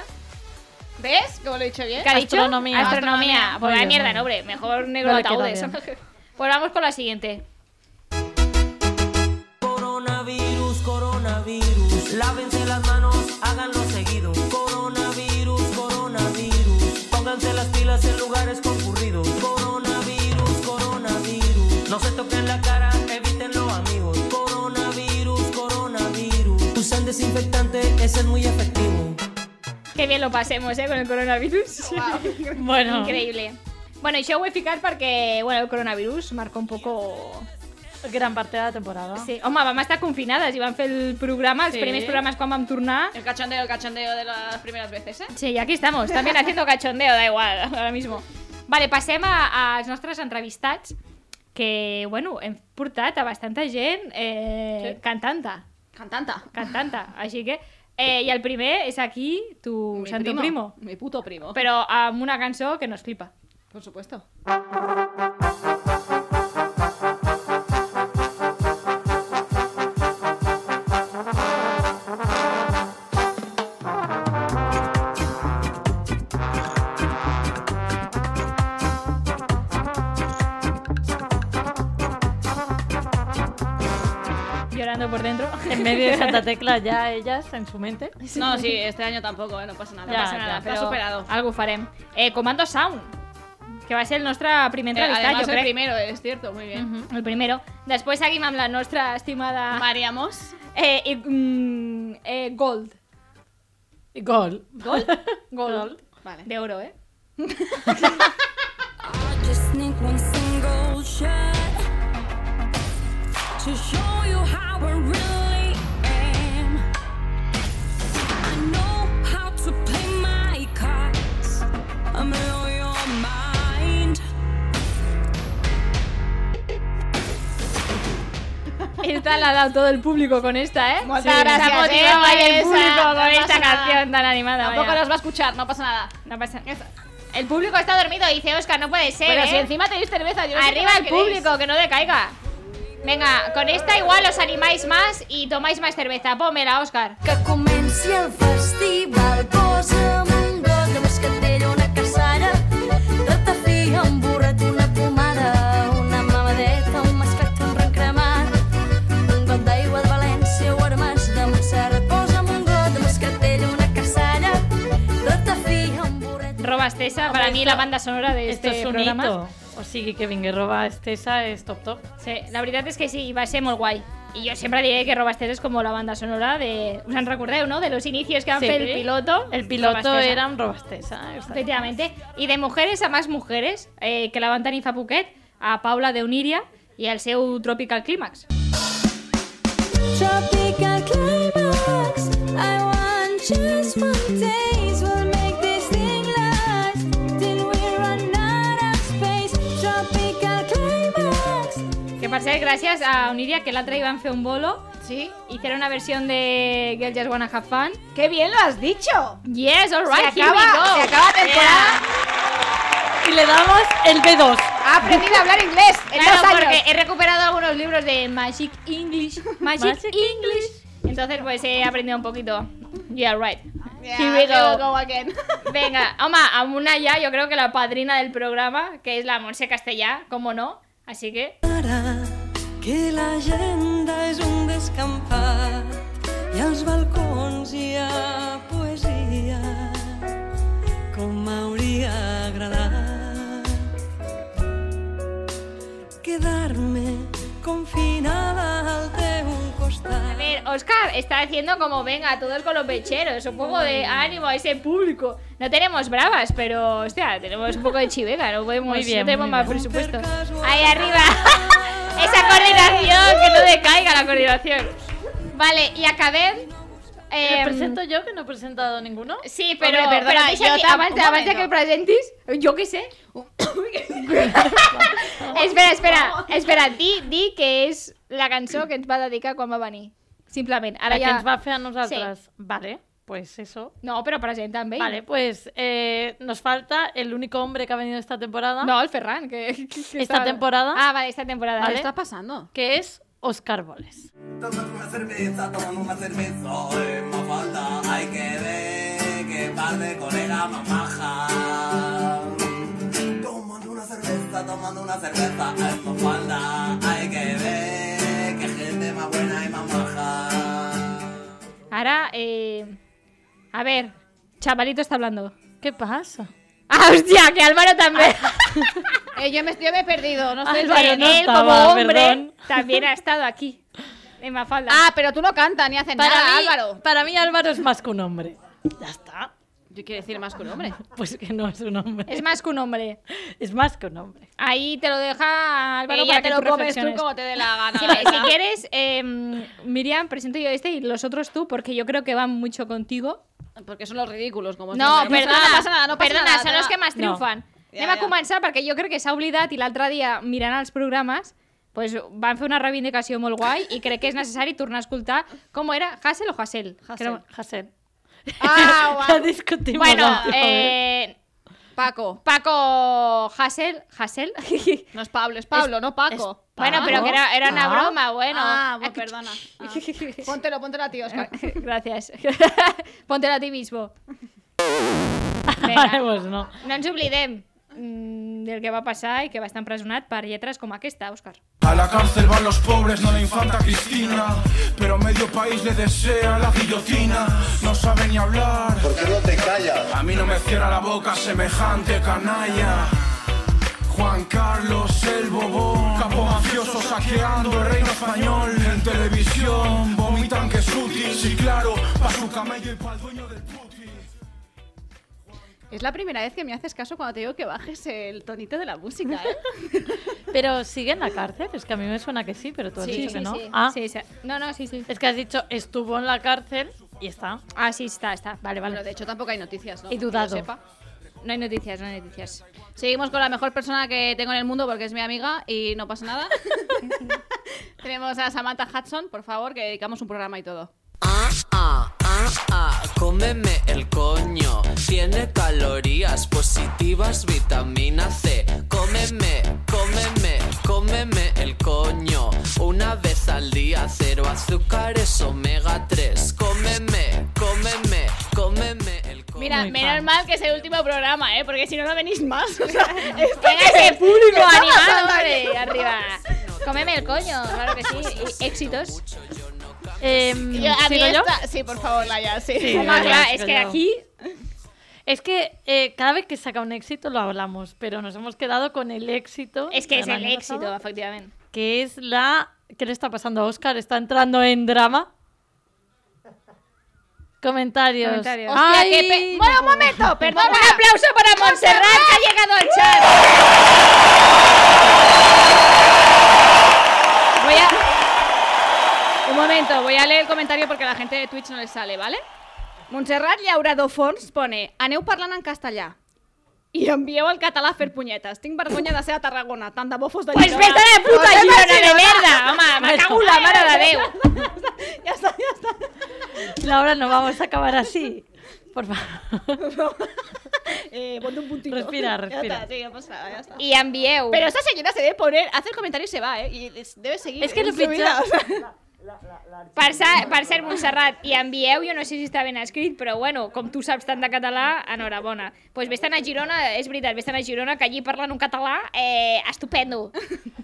¿Ves? Como lo he dicho bien.
¿Qué ha dicho?
Astronomía.
Astronomía.
Astronomía.
Pues
Muy
la
bien,
mierda,
muy
no, hombre. Mejor negro
No le queda
ataúdes.
bien.
pues vamos con la siguiente.
Coronavirus, coronavirus, lávense las manos, háganlo seguido. Coronavirus, coronavirus, pónganse las pilas en lugares concurridos. Coronavirus, coronavirus, no se toquen la cara, evítenlo amigos. Coronavirus, coronavirus, usen desinfectante, ese es muy efectivo.
Qué bien lo pasemos, ¿eh? Con el coronavirus.
Bueno,
Increíble. Bueno, y show eficaz porque, bueno, el coronavirus marcó un poco...
gran parte de la temporada.
Ah. Sí. Home, vam estar confinades i vam fer el programa, els
Sí.
primers programes quan vam tornar.
El cachondeo, el cachondeo de las primeras veces, ¿eh?
Sí, y aquí estamos, también haciendo cachondeo, da igual, ahora mismo. Vale, passem a, als nostres entrevistats, que, bueno, hem portat a bastanta gent eh, sí. cantanta,
Cantanta.
cantanta, així que... Eh, I el primer és aquí, tu,
Mi Oh.
Santo Primo.
Mi puto primo.
però amb una cançó que nos flipa.
Por supuesto.
Llorando por dentro.
En medio de Santa Tecla ya ellas en su mente.
No, sí, este año tampoco, ¿eh? No pasa nada.
Ya,
no passa nada,
ja,
però
Está superado.
algo farem. Eh, Comando Sound, que va ser el nostre primer
Eh,
entrevistat,
además,
jo
el
crec.
primero, es cierto, muy bien.
Mhm, El primero. Després seguim amb la nostra estimada
Mariamos.
eh, i, mm, eh, Gold.
Gol.
Gold.
Vale.
De oro, eh?
I just need one single shot to show you how I really am. I know how to play my cards. I'm loyal mind.
Esta la ha dado todo el público con esta, ¿eh?
Muchas
Se la
gracias,
ha motivado
eh,
ahí el
Vanessa.
público
No
con
pasa
esta
nada.
canción tan animada.
Tampoco
vaya.
los va a escuchar, no pasa nada.
No pasa El público está dormido, dice Oscar, no puede ser,
Pero
¿eh?
si encima tenéis cerveza, yo no sé
Arriba
qué más
el
queréis.
público, que no decaiga. Venga, con esta igual os animáis más y tomáis más cerveza. Pómela, Oscar.
Que comenci el festival, posa'm un got de moscatella, una caçara, ratafia, un borrat, una pomada, una mamadeta, un masclet, un rencremat, un got d'aigua de València o armats de Montserrat. Posa'm un got de moscatella, una caçara, ratafia, un borrat...
Roba Estesa, para mí la banda sonora de
Esto
este
es un
programa.
hito. O sigui que vinguerroba estesa es top top.
Sí, la veritat és que sí, va ser molt guai. I jo sempre diré que Robastés és com la banda sonora de... Us en recordeu, no? De los inicios que van
Sí.
fer el piloto.
El piloto
Roba Estesa.
era un roba estesa. eh? Està bé.
Efectivamente. I de mujeres a més mujeres, eh, que la van tenir fa poquet, a Paula de Uníria i el seu Tropical Clímax.
Tropical climax.
Ah,
Ah, I want just one taste. We'll make this thing last till we run out of space. Tropical climax.
Que per cert, gràcies a Uníria, que l'altre hi van fer un bolo,
Sí.
hicieron una versión de Girl Just Wanna Have Fun.
¡Qué bien lo has dicho!
Yes, all right,
se
here
acaba,
we go.
se acaba temporada.
Y le damos el B2.
Ha aprendido a hablar inglés en
Eh, Claro,
dos años.
porque he recuperado algunos libros de Magic English. Magic,
Magic
English. Entonces, pues he aprendido un poquito. Yeah, right.
Yeah,
Here we
here we
go.
go again.
Venga, Oma, a una ya, yo creo que la padrina del programa, que es la Monse Castellá, como no. Así que,
Ara que l'agenda és un descampat i als balcons hi ha poesia com m'hauria agradat quedar-me confinada al teu
a
costat
ver, Oscar está haciendo como venga, todos con los pecheros, un poco de ánimo a ese público. No tenemos bravas, pero, hostia, tenemos un poco de chivega, no, podemos,
Muy bien,
no tenemos
muy
más
bien.
presupuesto. Ahí arriba. Esa coordinación, que no decaiga la coordinación. Vale, y acabem...
¿Le
Eh,
presento yo que no he presentado ninguno?
Sí, pero,
Hombre, perdona,
però deixa
jo
que,
tam-
abans, abans
un
de
momento.
que el presentis, jo què sé. espera, espera, espera, di, di que és la cançó que ens va dedicar quan va venir. Simplement, ara
Ahora
ja...
ya. va a hacer a nosotras. Vale, pues eso.
No, però presenta amb ell.
Vale, pues eh, nos falta el único hombre que ha venido esta temporada,
No, el Ferran, que... que- que
Esta temporada.
Ah, vale, esta temporada.
Vale.
Esta-
pasando?
que es Oscar Boles.
Tomando una cerveza, tomando una cerveza, hoy más falta, hay que ver qué tarde, colega, mamaja. Tomando una cerveza, tomando una cerveza, esto falda. Hay que ver que gente más buena y más maja.
Ahora, eh... A ver, chavalito está hablando.
¿Qué pasa?
¡Ah, hostia! Que Álvaro también.
Eh, yo, me, yo me he perdido, no sé.
Álvaro
no
él, como
estaba,
hombre,
perdón.
también ha estado aquí. En Mafalda.
Ah, pero tú no cantas ni haces nada,
mí,
Álvaro.
para mí Álvaro es más que un hombre. Ya está.
Yo quiero decir más que un hombre.
Pues que no es un hombre.
Es más que un hombre.
Es más que un hombre.
Ahí te lo deja Álvaro
Pero
para
ya
que
te lo
tú
comes tú
reflexiones.
como te dé la gana.
Si, si
venga.
quieres, eh, Miriam, presento yo este y los otros tú, porque yo creo que van mucho contigo.
Porque son los ridículos, como
No,
siempre.
perdona,
No pasa nada, no pasa
perdona,
nada.
són els que més
No.
triomfen.
Ja,
Anem a
ja.
començar perquè jo crec que s'ha oblidat i l'altre dia mirant els programes pues, van fer una reivindicació molt guai i crec que és necessari tornar a escoltar com era Hassel o Hassel. Que era-
Hassel.
Ah, guau.
Ya discutimos.
Bueno,
la última vez.
eh,
Paco.
Paco Hassel, Hassel.
No es Pablo, es Pablo, no Paco.
Bueno, pero que era, era una
Ah.
broma, bueno. Eh,
Ah, bueno, perdona. Ah. Póntelo, póntelo a ti, Oscar.
Gràcies. Póntelo a ti mismo.
Vale,
Vinga.
pues no.
No ens oblidem mm, del que va passar i que va estar empresonat per lletres com aquesta, Òscar.
A la cárcel van los pobres, no la infanta Cristina. Pero medio país le desea la guillotina. No sabe ni hablar. ¿Por qué no te callas? A mí no me cierra la boca semejante canalla. Juan Carlos el Bobón, capo mafioso saqueando el reino español. En televisión vomitan que es útil, sí claro, pa' su camello y pa' el dueño del puti.
Es la primera vez que me haces caso cuando te digo que bajes el tonito de la música, ¿eh?
Pero sigue en la cárcel. Es que a mí me suena que sí, pero tú has dicho que no.
Sí,
Ah,
sí, sí. No, no, sí, sí.
es que has dicho estuvo en la cárcel y está.
Ah, sí, está, está. Vale,
Bueno, de
vale.
hecho tampoco hay noticias, ¿no?
He dudado.
Que yo sepa.
No hay noticias, no hay noticias.
Seguimos con la mejor persona que tengo en el mundo porque es mi amiga y no pasa nada. Tenemos a Samantha Hudson, por favor, que dedicamos un programa y todo.
Ah, ah, ah, ah, cómeme el coño. Tiene calorías positivas, vitamina C. Cómeme, cómeme, cómeme el coño. Una vez al día, cero azúcares, omega 3. Cómeme, cómeme, cómeme el coño.
Mira,
Muy
menos
fan.
mal que es el último programa, ¿eh? Porque si no, no venís más. O sea, esto
Venga,
que
ese
es-
público
que estamos
animado,
hablando aquí.
hombre, arriba. Cómeme el coño, claro que sí. Y éxitos.
Em,
Yo- a mí
¿sigo yo?
esta- Sí, por favor, Laia, sí.
Sí.
Toma,
venga,
claro,
sigo
es que
yo.
aquí
Es que eh, cada vez que saca un éxito lo hablamos, pero nos hemos quedado con el éxito.
es que es
del
el
año
éxito,
pasado,
efectivamente.
Que es la. ¿Qué le está pasando a Oscar? ¿Está entrando en drama? Comentarios.
Comentarios.
Hostia,
Ay,
qué pe-
no
Bueno, un
puedo.
momento,
Perdón,
perdona.
un aplauso para Montserrat que ha llegado al chat.
Voy a... Un momento, voy a leer el comentario porque a la gente de Twitch no le sale, ¿vale? Montserrat Llaurado Fons pone Aneu parlant en castellà i envieu el català a fer punyetes. Tinc vergonya de ser a Tarragona, tant de bofos de
Pues vete a la puta
Pues
Girona de
Girona.
mierda. Home, me cago en la mare de Déu.
Ja està, ja està.
Laura, no vamos a acabar así. Por favor.
Eh, ponte un puntito.
Respira,
Ja
respira.
està, sí, ja passa, ja està.
I envieu.
Pero esta señora se debe poner, hace el comentario y se va, ¿eh? Y es- debe seguir.
Es que
en
lo
su vida,
pincha-
o sea.
Per, sa, per cert, Montserrat, i envieu, jo no sé si està ben escrit, però bueno, com tu saps tant de català, enhorabona. Doncs pues vés-te'n a Girona, és veritat, vés-te'n a Girona, que allí parlen un català eh, estupendo.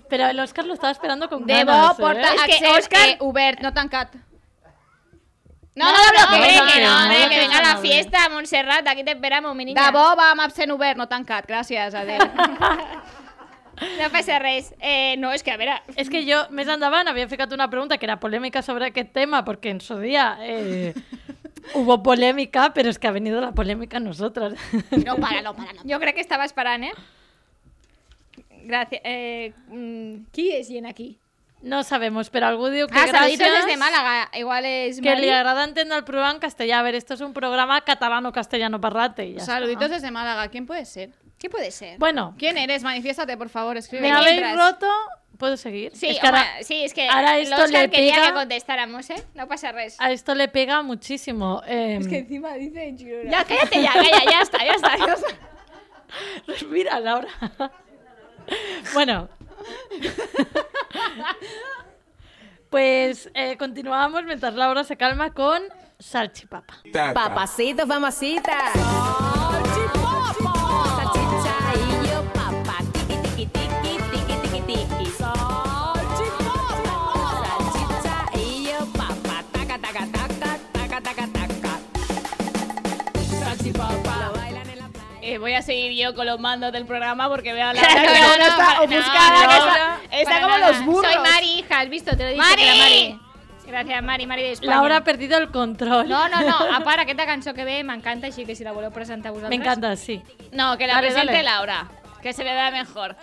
Pero el Oscar lo estaba esperando con
Debo
ganas. ¿eh?
portar
Es
a
que
Axel
Óscar-
eh, Hubert, no tan cat.
No, no, no,
no,
que,
no,
que, no,
no,
hombre,
no,
que
no,
venga la
no,
fiesta, Montserrat, aquí t'esperamos, mi niña.
Debo va amb absent Hubert, no tan cat. Gràcies, adéu.
No passa res. Eh, no, és que a veure...
Es que yo, mes andaban, había fijado una pregunta que era polémica sobre qué tema, porque en su día eh, hubo polémica, pero es que ha venido la polémica a nosotras.
No para, no para, no.
Jo crec que estava esperant, eh? Gràcies. Eh, mm, qui és gent aquí?
no sabemos, pero algo digo que
Ah, saluditos
gracias.
desde Málaga. Igual és
Que
Mari.
le agrada entender el programa en castellano. A ver, esto es un programa catalano-castellano parrate. y ya está.
Saluditos
Ah.
desde Málaga. ¿Quién puede ser?
Qui puede ser?
Bueno,
¿Quién eres? Manifiéstate, por favor, escribe.
me habéis
mientras.
roto. ¿Puedo seguir?
Sí,
es
es
que ahora-
sí, es que
ahora
el
esto
Oscar
le
quería
pega-
que contestáramos, ¿eh? No pasa res.
a esto le pega muchísimo. eh,
encima dice Girona.
Ya, cállate ya, calla, ya está, ya está. ya está.
Respira, Laura. bueno. pues eh, continuamos mientras Laura se calma con Salchipapa.
Papacito, mamacita. Salchicha y yo, papa. Tiki, tiki, tiki, tiki, tiki, tiki. Salchicha y yo, papa. Taca, taca, taca, taca, taca, taca. Salchipapa. La bailan en la playa.
Eh, voy a seguir yo con los mandos del programa porque veo a la
Claro,
Laura que
no,
no,
no,
está
pa-
ofuscada,
no,
que
no,
está, está
Para
como
nada.
los burros.
Soy Mari, hija, ¿has visto? Te lo he dicho
¡Mari!
que era Mari. Gracias, Mari, Mari de España.
Laura ha perdido el control.
No, no, no, a part aquesta cançó que ve m'encanta, així que si la voleu presentar vosaltres...
Me encanta, sí.
No, que la
Dale,
presente
dale.
Laura, que se le da mejor.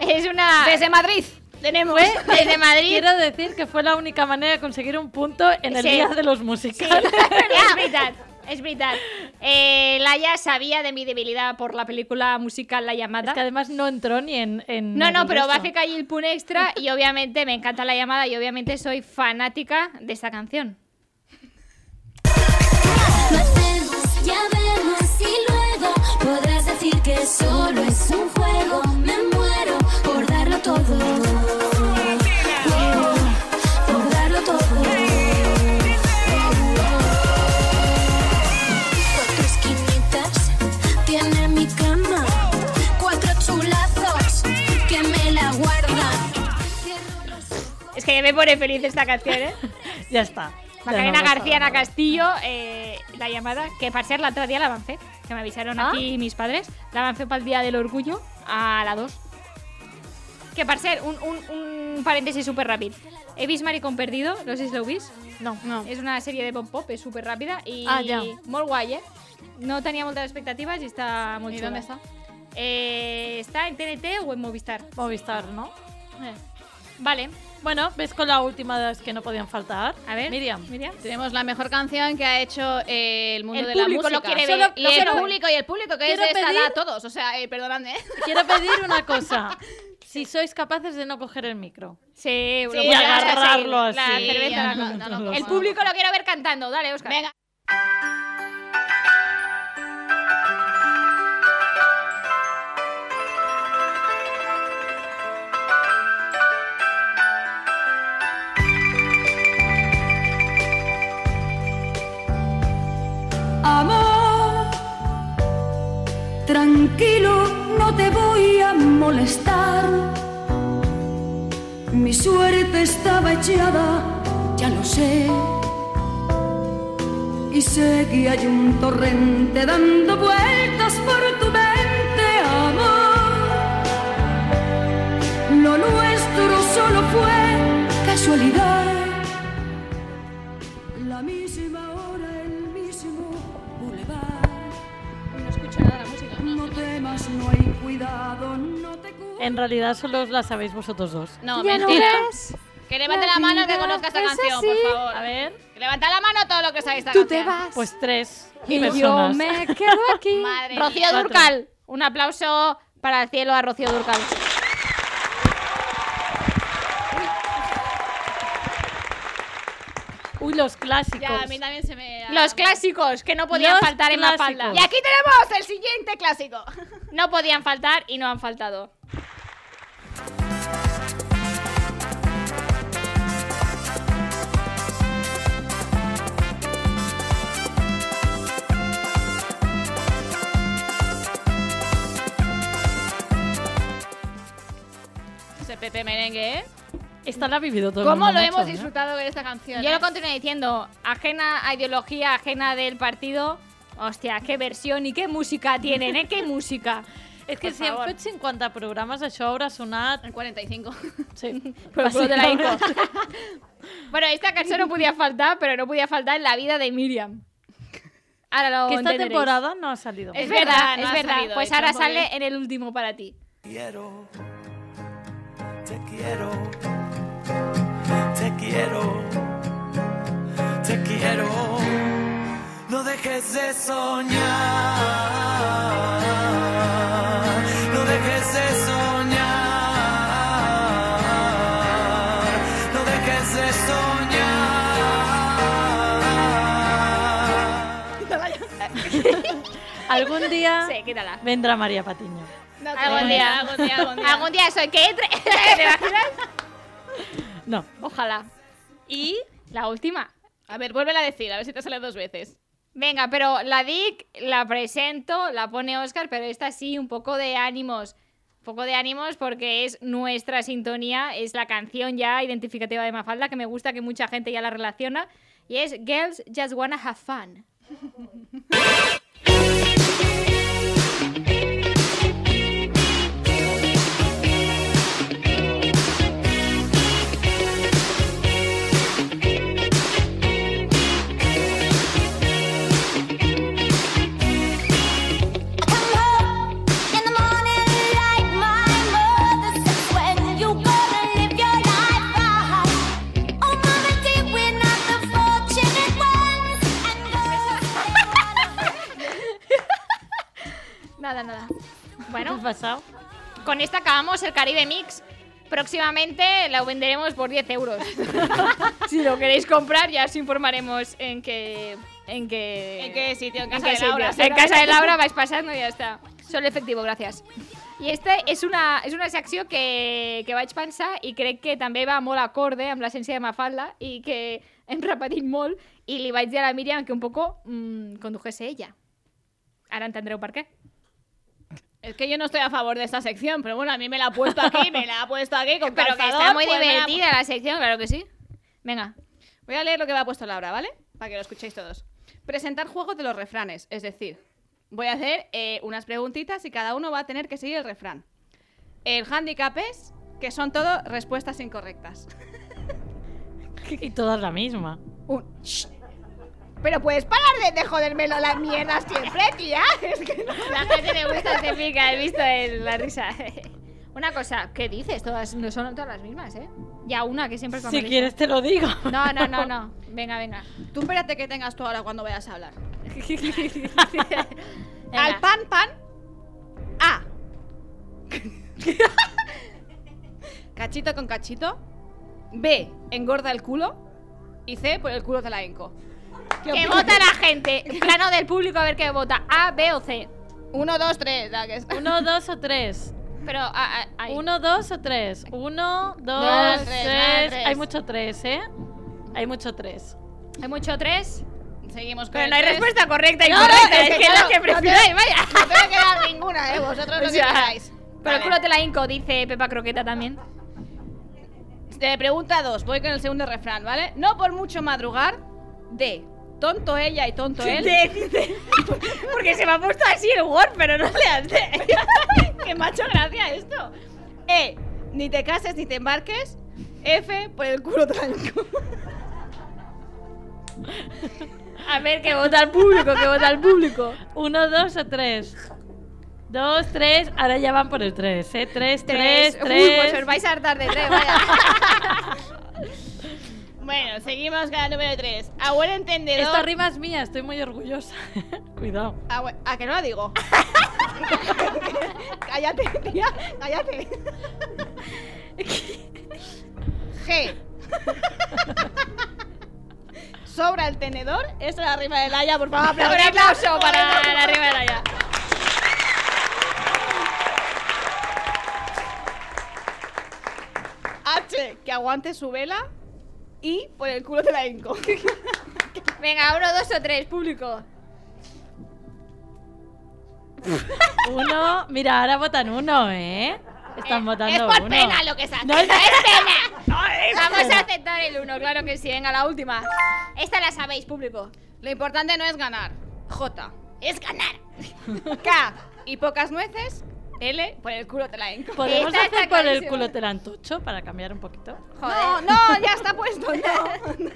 És una...
Desde Madrid tenemos.
Desde Madrid...
Quiero decir que fue la única manera de conseguir un punto en el
Sí.
Día de los
Sí,
Musicales.
es veritat, es veritat. Eh, Laia sabía de mi debilidad por la película musical La Llamada.
Es que además no entró ni en... en
No, no,
el
pero va
resto.
a hacer ahí el pun extra y obviamente me encanta la llamada y obviamente soy fanática de esta canción.
Nos vemos, ya vemos y luego podrás decir que solo es un juego. Me muero por darlo todo. Por darlo todo. Cuatro esquinitas tiene mi cama. Cuatro chulazos que me la guardan.
Es que me pone feliz esta canción, ¿eh?
Ya está.
Macarena
Ya no,
García Ana Castillo, eh, la llamada, que para ser la otra día la avancé, que me avisaron
¿Ah?
aquí mis padres, la avancé para el Día del Orgullo a la 2. Que para ser un, un, un paréntesis súper rápido. He visto Maricón Perdido, no sé si lo veis.
No, no.
És una sèrie de pop-pop, és super ràpida i
Ah, ja.
molt guai, eh? No tenia moltes expectatives i està molt
¿Y
xula.
dónde está?
Eh, està en TNT o en Movistar.
Movistar, ¿no?
Eh. Vale,
Bueno, ves con la última de las que no podían faltar.
a ver.
Miriam.
Miriam.
Tenemos la mejor canción que ha hecho eh, el mundo
El
de la
público
música.
lo quiere ver,
y
lo
el
quiero ver.
público y el público que es
Quiero
de esta edad
pedir-
todos, o sea, eh, perdonadme. ¿eh?
Quiero pedir una cosa. Si sois capaces de no coger el micro.
Sí,
Sí,
lo
Y
voy a
agarrarlo
hacer, La
así.
cerveza.
Sí, no, no, no,
El
no.
público lo quiero ver cantando. Dale, Oscar.
Venga.
Amor, tranquilo, no te voy a molestar. Mi suerte estaba echada, ya lo sé. Y sé que hay un torrente dando vueltas por tu mente, amor. Lo nuestro solo fue casualidad. La misma hora, el mismo bulevar. No temas, no hay cuidado, no te cu-
En realidad solo os la sabéis vosotros dos.
No, mentira. que levante la mano el que conozca esta canción, por favor.
A ver,
Que levanta la mano todo lo que sabe esta Tú canción.
pues tres personas.
quedo aquí.
Madre
Rocío
mía.
Durcal. Un aplauso para el cielo a Rocío Durcal.
Uy, los clásicos.
Ya, a mí también se me...
Los clásicos que no podían
Los
faltar en la
clásicos.
falda.
Y aquí tenemos el siguiente clásico.
No podían faltar y no han faltado.
Ese Pepe Merengue, ¿eh?
Esta la ha vivido todo el
¿Cómo
mundo,
lo
macho,
hemos
¿eh?
disfrutado con esta canción?
Yo
eh?
lo continúo diciendo, ajena a ideología, ajena del partido. Hostia, qué versión y qué música tienen, ¿eh? Qué música.
És que
Por
si hem
favor.
fet 50 programes, això haurà sonat...
El 45.
Sí.
Por el culo de la
Bàsicament.
Inco. Bueno, esta canción no podía faltar, pero no podía faltar en la vida de Miriam. Ahora lo
Que esta
entenderéis.
temporada no ha salido.
Es
Es
verdad,
verdad, no
es
ha
verdad.
salido,
pues
está
ahora
un poco
sale
bien.
en el último para ti.
Quiero, te quiero, te quiero, te quiero. No dejes de soñar, no dejes de soñar, no dejes de soñar.
Algun dia
Sí, quítala.
vendrà Maria Patiño.
algún, día, algún día, algún día. soy que entre. ¿Te imaginas?
No.
Ojalá.
I
La última.
A ver, vuélvela a decir, a ver si te sale dos veces.
Venga, pero la DIC la presento, la pone Oscar, pero esta sí, un poco de ánimos. Un poco de ánimos porque es nuestra sintonía, es la canción ya identificativa de Mafalda, que me gusta que mucha gente ya la relaciona, y es Girls Just Wanna Have Fun.
Come home in the morning like my mother says when you gonna live your life right. Oh, mama dear, we're not the fortunate ones. And
Nada, nada.
¿Qué
Bueno,
ha pasado?
con esta acabamos el Caribe Mix. Próximamente la venderemos por 10 euros. si lo queréis comprar, ya os informaremos en qué. En qué,
¿En qué sitio? ¿En
en
casa
qué
de Laura?
sitio. En casa de Laura vais pasando y ya está. Solo efectivo, gracias. I este és una, és una secció que, que vaig pensar i crec que també va molt acorde amb l'essència de Mafalda i que hem repetit molt i li vaig dir a la Míriam que un poco mm, condujese ella. Ara entendreu per què.
Es que yo no estoy a favor de esta sección, pero bueno, a mí me la ha puesto aquí, me la ha puesto aquí con
Però que
calzador,
està molt
pues me la ha pu-
divertida la secció, claro que sí. Venga,
Voy a leer lo que me ha puesto Laura, ¿vale? Para que lo escuchéis todos. Presentar juegos de los refranes, es decir, voy a hacer eh, unas preguntitas y cada uno va a tener que seguir el refrán. El handicap es que son todo respuestas incorrectas.
Y todas la misma.
Un shh. Pero puedes parar de, de jodérmelo la mierda siempre, tía. Es que no.
La gente le gusta este pica, he visto el- la risa. Una cosa, ¿qué dices? Todas no son todas las mismas, ¿eh? Ya una que siempre es la
Si
molesta.
quieres te lo digo.
No, no, no, no. Venga, venga.
Tú espérate que tengas tú ahora cuando vayas a hablar.
Venga.
Al pan pan. A. cachito con cachito. B. Engorda el culo. Y C. Por el culo te la enco.
Que vota la gente. Plano del público a ver qué vota. A, B o C.
Uno, dos, tres. la que está.
Uno, dos o tres.
Pero a, a- ahí.
Uno, dos o tres. Uno, dos,
Dos, tres,
Ah,
tres.
tres.
Hay mucho tres, ¿eh? Hay mucho tres.
hay mucho tres.
Seguimos con
Pero
el
no hay
tres.
respuesta correcta e
No,
incorrecta.
no,
es, que es la
claro,
que
no te-
prefiráis, vaya.
No tengo que dar ninguna, eh. Vosotros
O
lo que
sea,
queráis.
Pero el
Vale.
culo te la inco, dice Pepa Croqueta también.
De pregunta 2, voy con el segundo refrán, ¿vale? No por mucho madrugar, de tonto ella y tonto él.
Porque se me ha puesto así el Word, pero no le hace.
¡Qué macho gracia esto! E, ni te cases ni te embarques. F, por el culo tranco.
A ver, que vota el público, que vota el público.
Uno, dos o tres. Dos, tres. Ahora ya van por el tres, ¿eh? Tres, tres, tres.
Uy, pues os vais a hartar de tres, vaya.
Bueno, seguimos con la número 3. A buen entendedor.
Esta rima es mía, estoy muy orgullosa. Cuidado.
A, buen- Ah, ¿A que no la digo? cállate, tía, cállate. G. Sobra el tenedor. Esa es la rima de Laia, por favor,
Un
aplaudidla.
aplauso para la Rivera ya.
H, que aguante su vela y por el culo te la hinco.
Venga, uno, dos o tres, público.
Uno. Mira, ahora votan uno, ¿eh? Están votando
Es por
uno.
pena lo que se hace.
No,
es
no.
pena. Vamos a aceptar el uno, claro que sí. Venga, la última. Esta la sabéis, público.
Lo importante no es ganar. J.
Es ganar.
K. Y pocas nueces. L. Por el culo te la hinco.
Podemos
Esta está
hacer por el
clarísima.
culo telantocho para cambiar un poquito.
No, no, ya está puesto. No.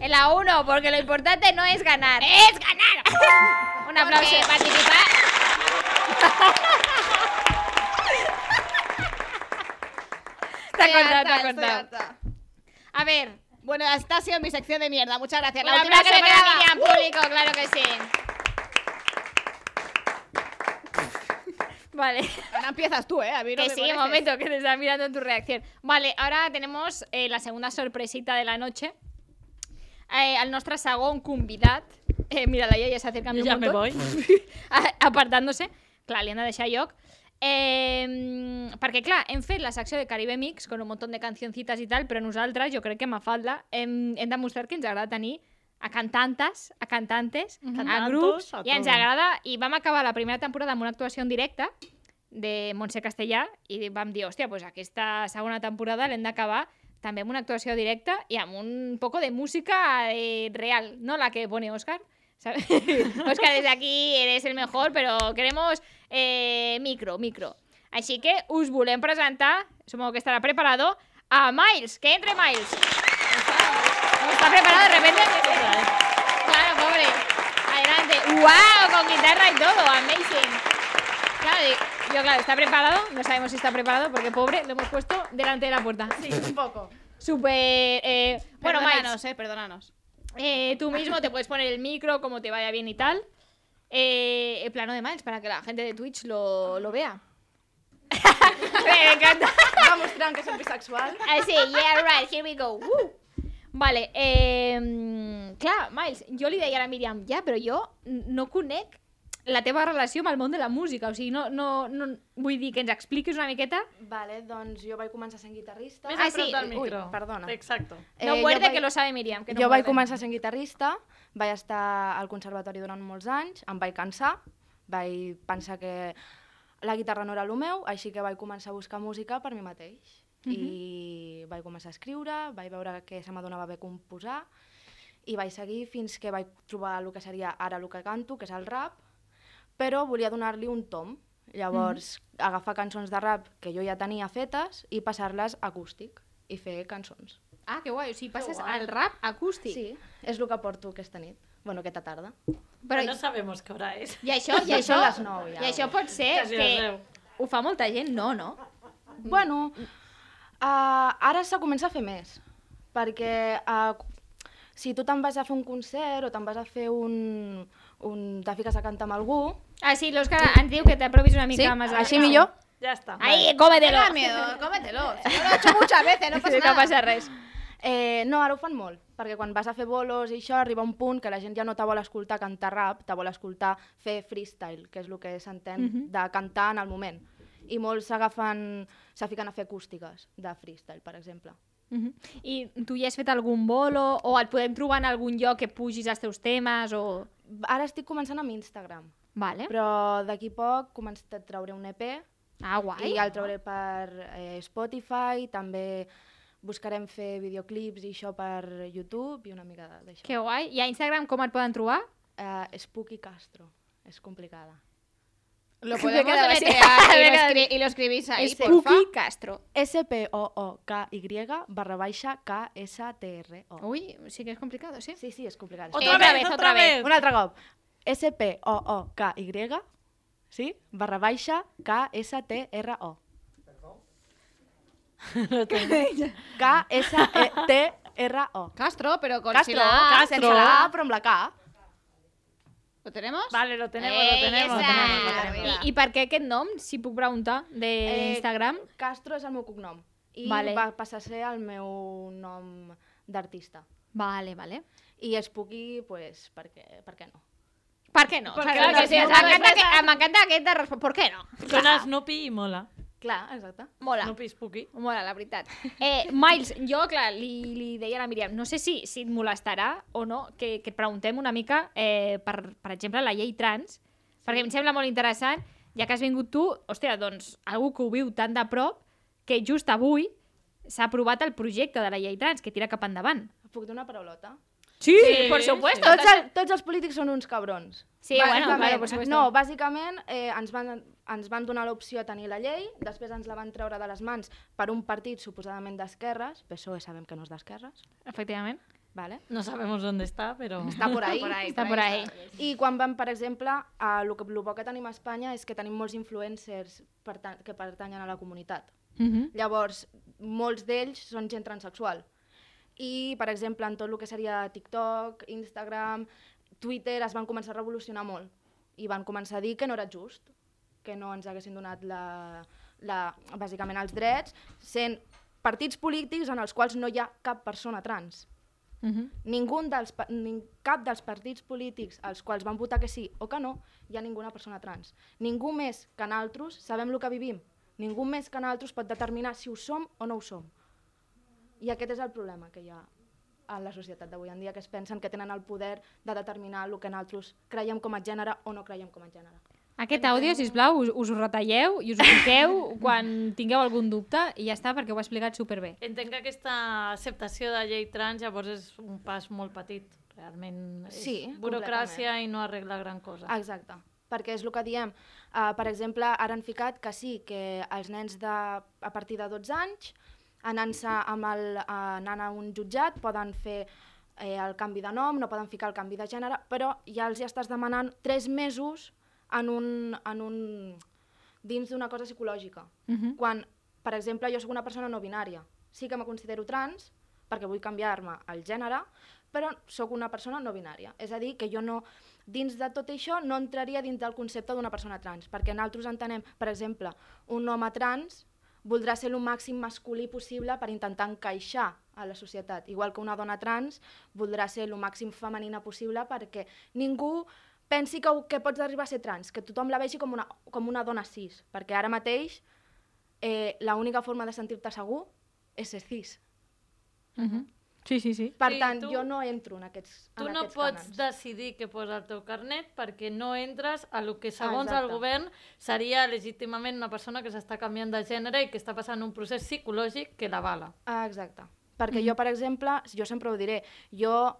En la uno, porque lo importante no es ganar. ¡Es ganar! Un aplauso. participar. Está corta, está corta. A ver,
Bueno, esta ha sido mi sección de mierda. Muchas gracias.
Un
La última
aplauso
que me
para
quedaba.
Miriam, público, claro que sí. Vale,
Ahora empiezas tú, ¿eh? A mí no
que
me
sí,
molestes.
un momento, que te estaba mirando tu reacción. Vale, ahora tenemos eh, la segunda sorpresita de la noche. Eh, al nostre segon convidat. Eh, mira, la Iaia s'acerca a mi
Yo
un
ya me
montón.
voy.
A- apartant-se, clar, li hem de deixar lloc. Eh, perquè, clar, hem fet la secció de Caribe Mix con un munt de cancioncites i tal, però nosaltres, jo crec que Mafalda, hem, hem demostrat que ens agrada tenir a cantantes, a cantantes, a
Cantantos,
grups,
a
i ens
tot.
agrada, i vam acabar la primera temporada amb una actuació en directe de Montse Castellà, i vam dir, hòstia, doncs aquesta segona temporada l'hem d'acabar també amb una actuació directa i amb un poco de música eh, real, no la que pone Òscar. ¿sabes? Óscar, desde aquí eres el mejor, pero queremos eh, micro, micro. Així que us volem presentar, supongo que estará preparado, a Miles, que entre Miles. No está preparado de repente. Claro, pobre. Adelante. ¡Wow! Con guitarra y todo, amazing. Claro, y- yo claro, está preparado, no sabemos si está preparado porque pobre, lo hemos puesto delante de la puerta.
Sí, un poco.
Súper... eh, bueno, Miles,
Perdónanos, eh, perdónanos.
eh, tú mismo te puedes poner el micro como te vaya bien y tal. Eh, el plano de Miles para que la gente de Twitch lo, lo vea. Me encanta.
Va mostrant que som bisexual.
Así, yeah, right, here we go. Woo. Vale, eh, clar, Miles, jo li deia a la Míriam, ja, però jo no conec la teva relació amb el món de la música, o sigui, no, no, no vull dir que ens expliquis una miqueta.
Vale, doncs jo vaig començar sent guitarrista.
Més
Ah,
a prop
sí.
del
Ui,
micro.
perdona.
Exacto.
No
Eh, jo
muerde,
vaig-
que lo sabe Míriam. Que no
jo vaig
muerde.
començar sent guitarrista, vaig estar al conservatori durant molts anys, em vaig cansar, vaig pensar que la guitarra no era el meu, així que vaig començar a buscar música per mi mateix.
Mhm.
I vaig començar a escriure, vaig veure que se m'adonava bé composar, i vaig seguir fins que vaig trobar el que seria ara el que canto, que és el rap, però volia donar-li un tom. Llavors,
Mhm.
agafar cançons de rap que jo ja tenia fetes i passar-les a acústic i fer cançons.
Ah, que guai, o sigui, passes al rap acústic.
Sí, és el que porto aquesta nit. Bueno, aquesta tarda.
Però,
No sabemos qué hora es.
I això, i això,
Són les nou, ja.
i això pot ser
Quasi les
que
deu.
ho fa molta gent, no, no?
Bueno, uh, ara se comença a fer més, perquè uh, si tu te'n vas a fer un concert o te'n vas a fer un... un te fiques a cantar amb algú,
Ah, sí, l'Òscar ens diu que t'apropis una mica
Ah,
més.
així millor.
Ya está.
Ahí, cómetelo.
Tenga miedo, cómetelo. Si Yo lo he hecho muchas veces, no pasa
Sí,
nada.
no passa res.
Eh, no, ara ho fan molt, perquè quan vas a fer bolos i això, arriba un punt que la gent ja no te vol escoltar cantar rap, te vol escoltar fer freestyle, que és el que s'entén de cantar en el moment. I molts s'agafen, se fiquen a fer acústiques de freestyle, per exemple.
Mhm. I tu ja has fet algun bolo o et podem trobar en algun lloc que pugis els teus temes o...
Ara estic començant amb Instagram,
Vale.
però d'aquí poc començaré a traure un EP
Ah, guai.
i el trauré per eh, Spotify, també buscarem fer videoclips i això per YouTube i una mica de- d'això.
Que guai. I a Instagram com et poden trobar?
Eh, Spooky Castro, és complicada.
Lo
Me
podemos
quedo
deletrear y,
metida.
lo escri- y lo escribís ahí,
Spooky
porfa.
Castro.
S-P-O-O-K-Y barra baixa K-S-T-R-O.
Ui, sí que és complicat, Uh, sí?
Sí, sí, és complicat.
Otra,
Otra
vez,
vez,
otra,
otra
vez.
Un altre cop. S-P-O-O-K-Y sí? barra baixa K-S-T-R-O. K-S-T-R-O.
Castro, pero con
Castro,
si la A,
Castro.
sense
Sense
la
la
A.
A, però amb la K.
¿Lo tenemos?
Vale, lo tenemos,
Eh,
Ey,
lo tenemos.
esa.
lo tenemos, lo tenemos.
Arriba.
I, I per què aquest nom, si puc preguntar, d'Instagram? Eh...
Castro és el meu cognom. I
Vale.
va passar a ser el meu nom d'artista.
Vale, vale.
I Spooky, pues, per què, per què no?
Per què no?
Perquè
Saps el que
no
sí,
és una
M'encanta que, m'encanta aquesta resposta. Per què no?
Suena Snoopy y mola.
Clar, exacte.
Mola.
Snoopy Spooky.
Mola, la veritat. Eh, Miles, jo, clar, li, li deia a la Míriam, no sé si, si et molestarà o no, que, que et preguntem una mica, eh, per, per exemple, la llei trans, perquè em sembla molt interessant, ja que has vingut tu, hòstia, doncs, algú que ho viu tan de prop, que just avui s'ha aprovat el projecte de la llei trans, que tira cap endavant.
Puc donar paraulota?
Sí, sí por supuesto.
Tots, el, tots els polítics són uns cabrons.
Sí, bueno,
Bàsicament.
claro, por supuesto.
No, bàsicament eh, ens, van, ens van donar l'opció a tenir la llei, després ens la van treure de les mans per un partit suposadament d'esquerres, PSOE E sabem que no és d'esquerres,
Efectivament.
vale?
No sabemos dónde está, pero.
està por ahí.
Està por ahí.
I quan van, per exemple, a lo, que, lo bo que tenim a Espanya és que tenim molts influencers perta que pertanyen a la comunitat.
Mm -hmm.
Llavors, molts d'ells són gent transexual. I, per exemple, en tot el que seria TikTok, Instagram, Twitter, es van començar a revolucionar molt. I van començar a dir que no era just, que no ens haguessin donat la, la, bàsicament els drets, sent partits polítics en els quals no hi ha cap persona trans.
Mm -hmm.
Ningú dels, pa- nin, cap dels partits polítics als quals van votar que sí o que no, hi ha ninguna persona trans. Ningú més que naltros sabem el que vivim. Ningú més que naltros pot determinar si ho som o no ho som. I aquest és el problema que hi ha a la societat d'avui en dia, que es pensen que tenen el poder de determinar el que nosaltres creiem com a gènere o no creiem com a gènere.
Aquest àudio, sisplau, us, us ho retalleu i us ho fiqueu quan tingueu algun dubte i ja està, perquè ho ha explicat superbé.
Entenc que aquesta acceptació de llei trans llavors és un pas molt petit. Realment és
Sí, Ah,
burocràcia i no arregla gran cosa.
Exacte, perquè és el que diem. Uh, per exemple, ara han ficat que sí, que els nens de, a partir de 12 anys, anant-se amb el, uh, anant a un jutjat, poden fer eh, el canvi de nom, no poden ficar el canvi de gènere, però ja els hi estàs demanant 3 mesos en un, en un, dins d'una cosa psicològica.
Mhm.
Quan, per exemple, jo sóc una persona no binària, sí que me considero trans perquè vull canviar-me el gènere, però sóc una persona no binària. És a dir, que jo no, dins de tot això, no entraria dins del concepte d'una persona trans, perquè nosaltres entenem, per exemple, un home trans voldrà ser el màxim masculí possible per intentar encaixar a la societat, igual que una dona trans voldrà ser el màxim femenina possible perquè ningú pensi que, que pots arribar a ser trans, que tothom la vegi com una, com una dona cis, perquè ara mateix eh, l'única forma de sentir-te segur és ser cis.
Sí, sí, sí.
Per
Sí,
tant,
tu-
jo no entro en aquests
Tu
en
no
aquests
pots
cànons.
decidir què posa al teu carnet perquè no entres a lo que segons
Ah,
el
exacte.
govern seria legítimament una persona que s'està canviant de gènere i que està passant un procés psicològic que l'avala.
Ah, exacte. Perquè jo, per exemple, jo sempre ho diré, jo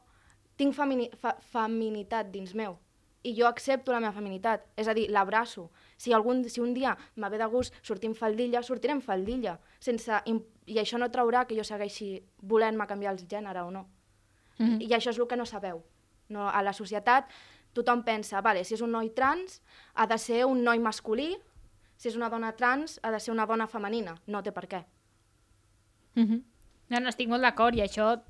tinc femini fa feminitat dins meu i jo accepto la meva feminitat, és a dir, l'abraço. Si, algun, si un dia me ve de gust sortir en faldilla, sortiré en faldilla, sense, im- i això no traurà que jo segueixi volent-me canviar el gènere o no.
Mhm.
I això és el que no sabeu. No, a la societat tothom pensa, vale, si és un noi trans, ha de ser un noi masculí, si és una dona trans, ha de ser una dona femenina. No té per què. Mhm.
No, no, estic molt d'acord i això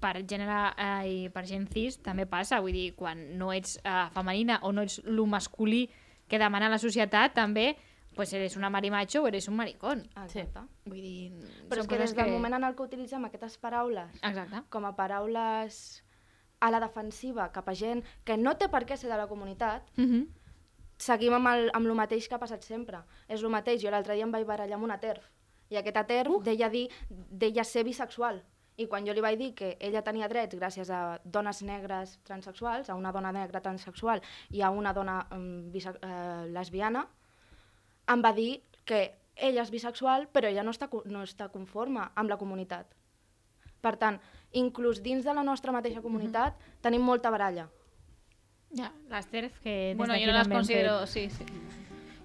per gènere eh, i per gent cis també passa, vull dir, quan no ets eh, femenina o no ets lo masculí que demana la societat, també pues eres una marimacho o eres un maricón.
Exacte.
Vull dir,
Però
són
és que
coses
des del que... moment en el que utilitzem aquestes paraules
Exacte.
com a paraules a la defensiva cap a gent que no té per què ser de la comunitat,
Mhm.
seguim amb el, amb el mateix que ha passat sempre. És el mateix, jo l'altre dia em vaig barallar amb una TERF, i aquest TERF uh. deia, dir, deia ser bisexual. I quan jo li vaig dir que ella tenia drets gràcies a dones negres transexuals, a una dona negra transexual i a una dona um, bise eh, lesbiana, em va dir que ella és bisexual però ella no està, co- no està conforme amb la comunitat. Per tant, inclús dins de la nostra mateixa comunitat
Mhm.
tenim molta baralla.
Ja, les TERF que... Eh, des
Bueno,
d'aquí
jo no les
també hem fet.
considero... Sí, sí.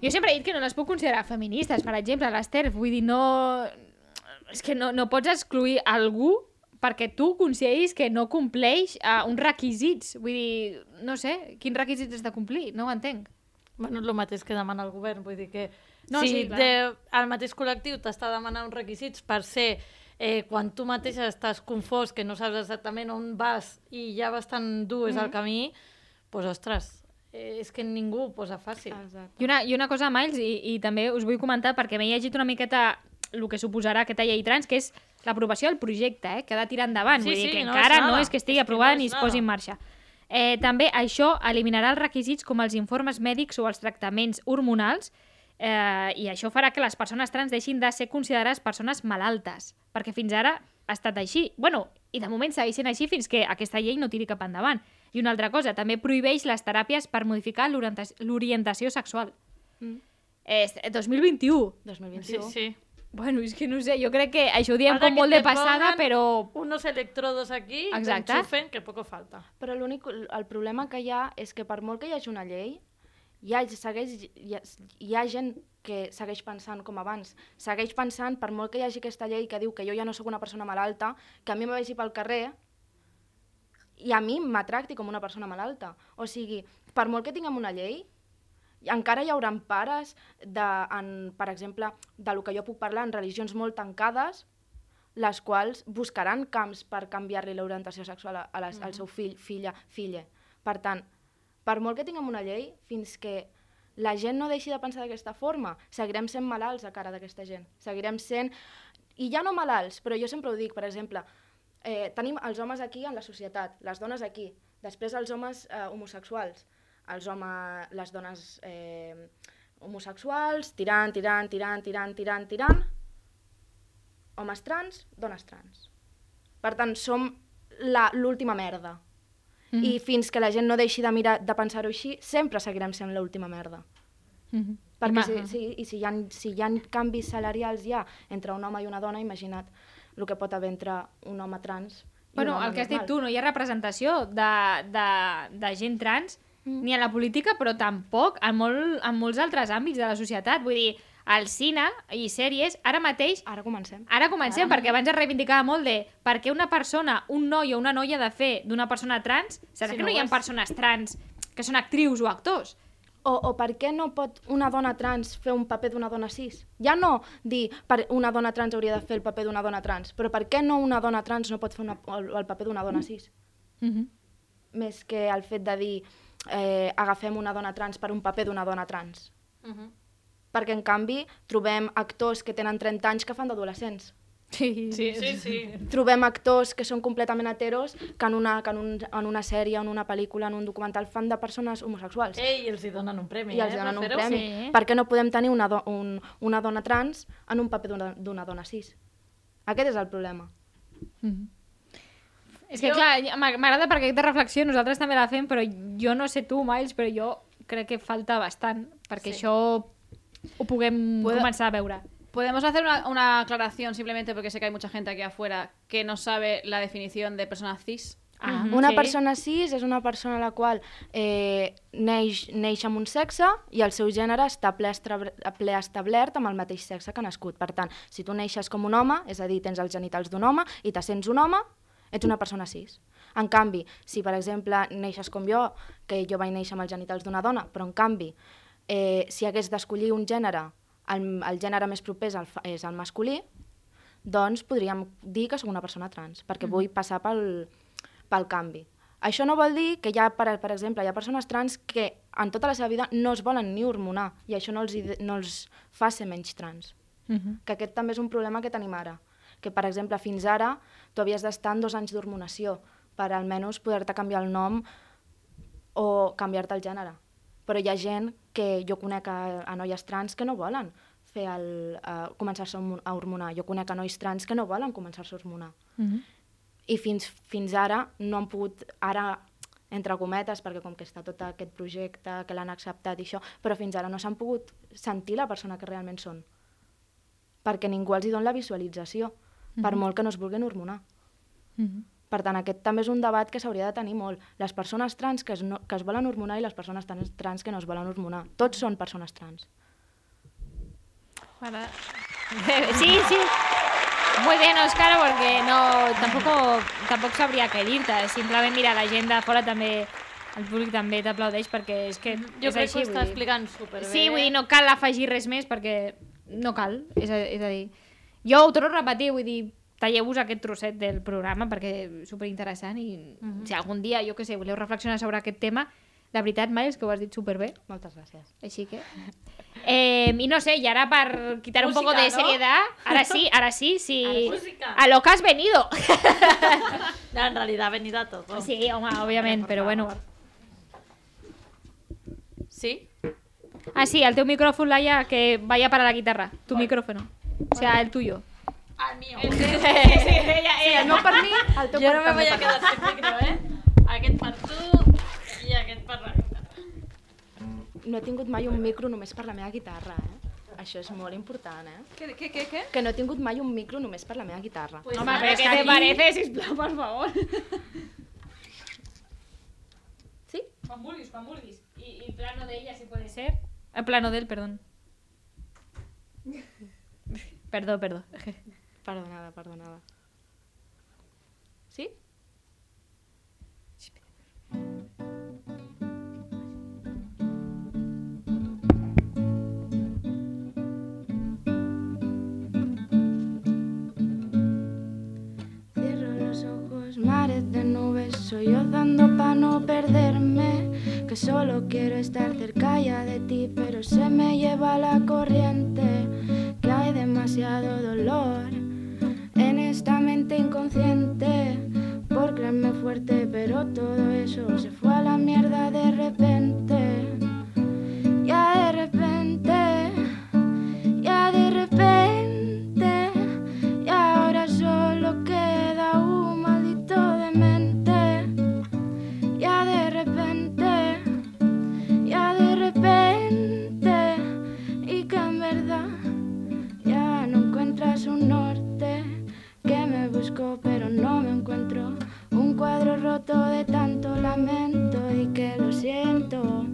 Jo sempre he dit que no les puc considerar feministes, per exemple, les TERF, vull dir, no... És que no, no pots excluir algú perquè tu consideris que no compleix uh, uns requisits. Vull dir, no sé, quins requisits has de complir? No ho entenc.
Bueno, és el mateix que demana el govern, vull dir que
No,
no,
sí,
si sí,
clar.
de, el mateix col·lectiu t'està demanant uns requisits per ser eh, quan tu mateixa estàs confós, que no saps exactament on vas i ja bastant dur és el camí, doncs, ostres, eh, és que ningú ho posa fàcil.
Exacte.
I una, i una cosa, Miles, i, i també us vull comentar, perquè m'he llegit una miqueta el que suposarà aquesta llei trans, que és l'aprovació del projecte, eh, que ha de tirar endavant.
Sí,
Vull dir
sí,
que
no és
encara no
nada.
és que estigui
És que no
aprovada
és
ni es
nada.
posi en marxa. Eh, també això eliminarà els requisits com els informes mèdics o els tractaments hormonals eh, i això farà que les persones trans deixin de ser considerades persones malaltes, perquè fins ara ha estat així. Bueno, i de moment segueix sent així fins que aquesta llei no tiri cap endavant. I una altra cosa, també prohibeix les teràpies per modificar l'orienta- l'orientació sexual.
Mm.
Eh, 2021.
2021.
Sí, sí.
Bueno, és que no sé, jo crec que això ho diem
Ara
com
que
molt de
te
passada,
pongan
però...
Unos electrodos aquí,
Exacte.
Exacte. enchufen, que poco falta.
Però l'únic, el problema que hi ha és que per molt que hi hagi una llei, hi ha, segueix, hi ha, hi ha gent que segueix pensant com abans. Segueix pensant, per molt que hi hagi aquesta llei que diu que jo ja no sóc una persona malalta, que a mi me vegi pel carrer i a mi me tracti com una persona malalta. O sigui, per molt que tinguem una llei, i encara hi haurà pares, de, en, per exemple, de lo que jo puc parlar en religions molt tancades, les quals buscaran camps per canviar-li l'orientació sexual a les, al seu fill, filla, filla. Per tant, per molt que tinguem una llei, fins que la gent no deixi de pensar d'aquesta forma, seguirem sent malalts a cara d'aquesta gent. Seguirem sent... I ja no malalts, però jo sempre ho dic, per exemple, eh, tenim els homes aquí en la societat, les dones aquí, després els homes eh, homosexuals, els homes, les dones eh, homosexuals, tirant, tirant, tirant, tirant, tirant, tirant, homes trans, dones trans. Per tant, som la- l'última merda.
Mhm.
I fins que la gent no deixi de mirar de pensar-ho així, sempre seguirem sent l'última merda.
Mhm.
Perquè
Ima-
si, si, i si hi, ha, si hi ha canvis salarials ja entre un home i una dona, imagina't el que pot haver entre un home trans i
Bueno,
un home
el que has dit
normal.
tu, no hi ha representació de, de, de gent trans
Mm.
ni a la política, però tampoc en, molt, en molts altres àmbits de la societat. Vull dir, al cine i sèries, ara mateix...
Ara comencem.
Ara
ah.
comencem, perquè abans es reivindicava molt de per què una persona, un noi o una noia ha de fer d'una persona trans, serà
Si
que
no
no,
ho
hi ha
és.
persones trans que són actrius o actors.
O, o per què no pot una dona trans fer un paper d'una dona cis? Ja no dir per una dona trans hauria de fer el paper d'una dona trans, però per què no una dona trans no pot fer una, el, el paper d'una dona cis? Més que el fet de dir eh, agafem una dona trans per un paper d'una dona trans.
Mm-hmm.
Perquè, en canvi, trobem actors que tenen 30 anys que fan d'adolescents.
Sí,
sí, sí. sí.
Trobem actors que són completament heteros que en una, que en un, en una sèrie, en una pel·lícula, en un documental fan de persones homosexuals.
Ei, i els hi donen un premi,
I els
eh?
donen
per
un
fer-ho.
premi. Sí. Per què no podem tenir una, do un, una dona trans en un paper d'una- d'una dona cis? Aquest és el problema.
És que, clar, m'a- m'agrada perquè aquesta reflexió nosaltres també la fem, però jo no sé tu, Miles, però jo crec que falta bastant perquè
Sí.
això ho puguem
Puedo-
començar a veure.
Podemos hacer una, Ah, una aclaración simplemente porque sé que hay mucha gente aquí afuera que no sabe la definición de persona cis.
Ah, Mm-hmm.
Una persona cis és una persona la qual eh, neix, neix amb un sexe i el seu gènere està ple, estre- ple establert amb el mateix sexe que ha nascut. Per tant, si tu neixes com un home, és a dir, tens els genitals d'un home i te sents un home, ets una persona cis. En canvi, si per exemple neixes com jo, que jo vaig néixer amb els genitals d'una dona, però en canvi, eh, si hagués d'escollir un gènere, el, el gènere més proper és el, fa- és el masculí, doncs podríem dir que sóc una persona trans, perquè vull passar pel, pel canvi. Això no vol dir que hi ha, per, per exemple, hi ha persones trans que en tota la seva vida no es volen ni hormonar i això no els, hi de- no els fa ser menys trans. Que aquest també és un problema que tenim ara. Que, per exemple, fins ara tu havies d'estar en dos anys d'hormonació per almenys poder-te canviar el nom o canviar-te el gènere. Però hi ha gent que jo conec a, a noies trans que no volen fer el, uh, començar-se a hormon- a hormonar. Jo conec a nois trans que no volen començar-se a hormonar i fins, fins ara no han pogut, ara entre cometes, perquè com que està tot aquest projecte, que l'han acceptat i això, però fins ara no s'han pogut sentir la persona que realment són. Perquè ningú els hi dona la visualització, per
Mhm.
molt que no es vulguin hormonar. Per tant, aquest també és un debat que s'hauria de tenir molt. Les persones trans que es, no, que es volen hormonar i les persones trans, trans que no es volen hormonar. Tots són persones trans.
Para...
Sí, sí. Muy bien, Óscar, porque no, tampoco, tampoco sabría qué dir-te. Simplement, mira, la gent de fora també, el públic també t'aplaudeix perquè és que
Jo
és
crec
així,
que ho està
vull dir.
explicant superbé.
Sí, vull dir, no cal afegir res més perquè no cal, és a, és a dir... Jo ho torno a repetir, vull dir, talleu-vos aquest trosset del programa perquè és superinteressant i
Mhm.
si algun dia, jo que sé, voleu reflexionar sobre aquest tema, la veritat, Mai, és que ho has dit superbé.
Moltes gràcies.
Així que... Eh, I no sé, y ahora para quitar un
Música,
poco de
¿no?
seriedad, ahora sí, ahora sí, sí.
Ahora música.
A lo que has venido.
No, en realitat ha venit a tot.
Sí, home, obviamente, pero bueno.
Sí?
Ah, sí, al teu micrófono, Laia, que vaya para la guitarra. Tu micrófono. O sea, el tuyo.
El mío.
Sí, el meu per mi, el teu
Jo
per
no me
també
vaig
per
a
mi.
quedar sin micro, eh? Aquest per tu i aquest per la
No he tingut mai un micro només per la meva guitarra, eh? Això és molt important, eh?
¿Qué, qué, qué, qué?
Que no he tingut mai un micro només per la meva guitarra.
Pues
Home,
nada,
però és
¿qué
que
te
aquí-
parece, sisplau, por favor?
Juan Bulgis, Juan Bulgis. Y, y plano de ella, si puede ser. El plano de él, perdón. Perdón, perdón.
Perdonada, perdonada. Sí? Cierro los ojos, mares de nubes, soy yo dando para no perderme. Que solo quiero estar cerca ya de ti, pero se me lleva la corriente. Que hay demasiado dolor en esta mente inconsciente. Por creerme fuerte, pero todo eso se fue a la mierda de repente. Ya de repente, ya de repente. Y ahora solo queda un maldito de mí.
busco pero no me encuentro. Un cuadro roto de tanto lamento y que lo siento.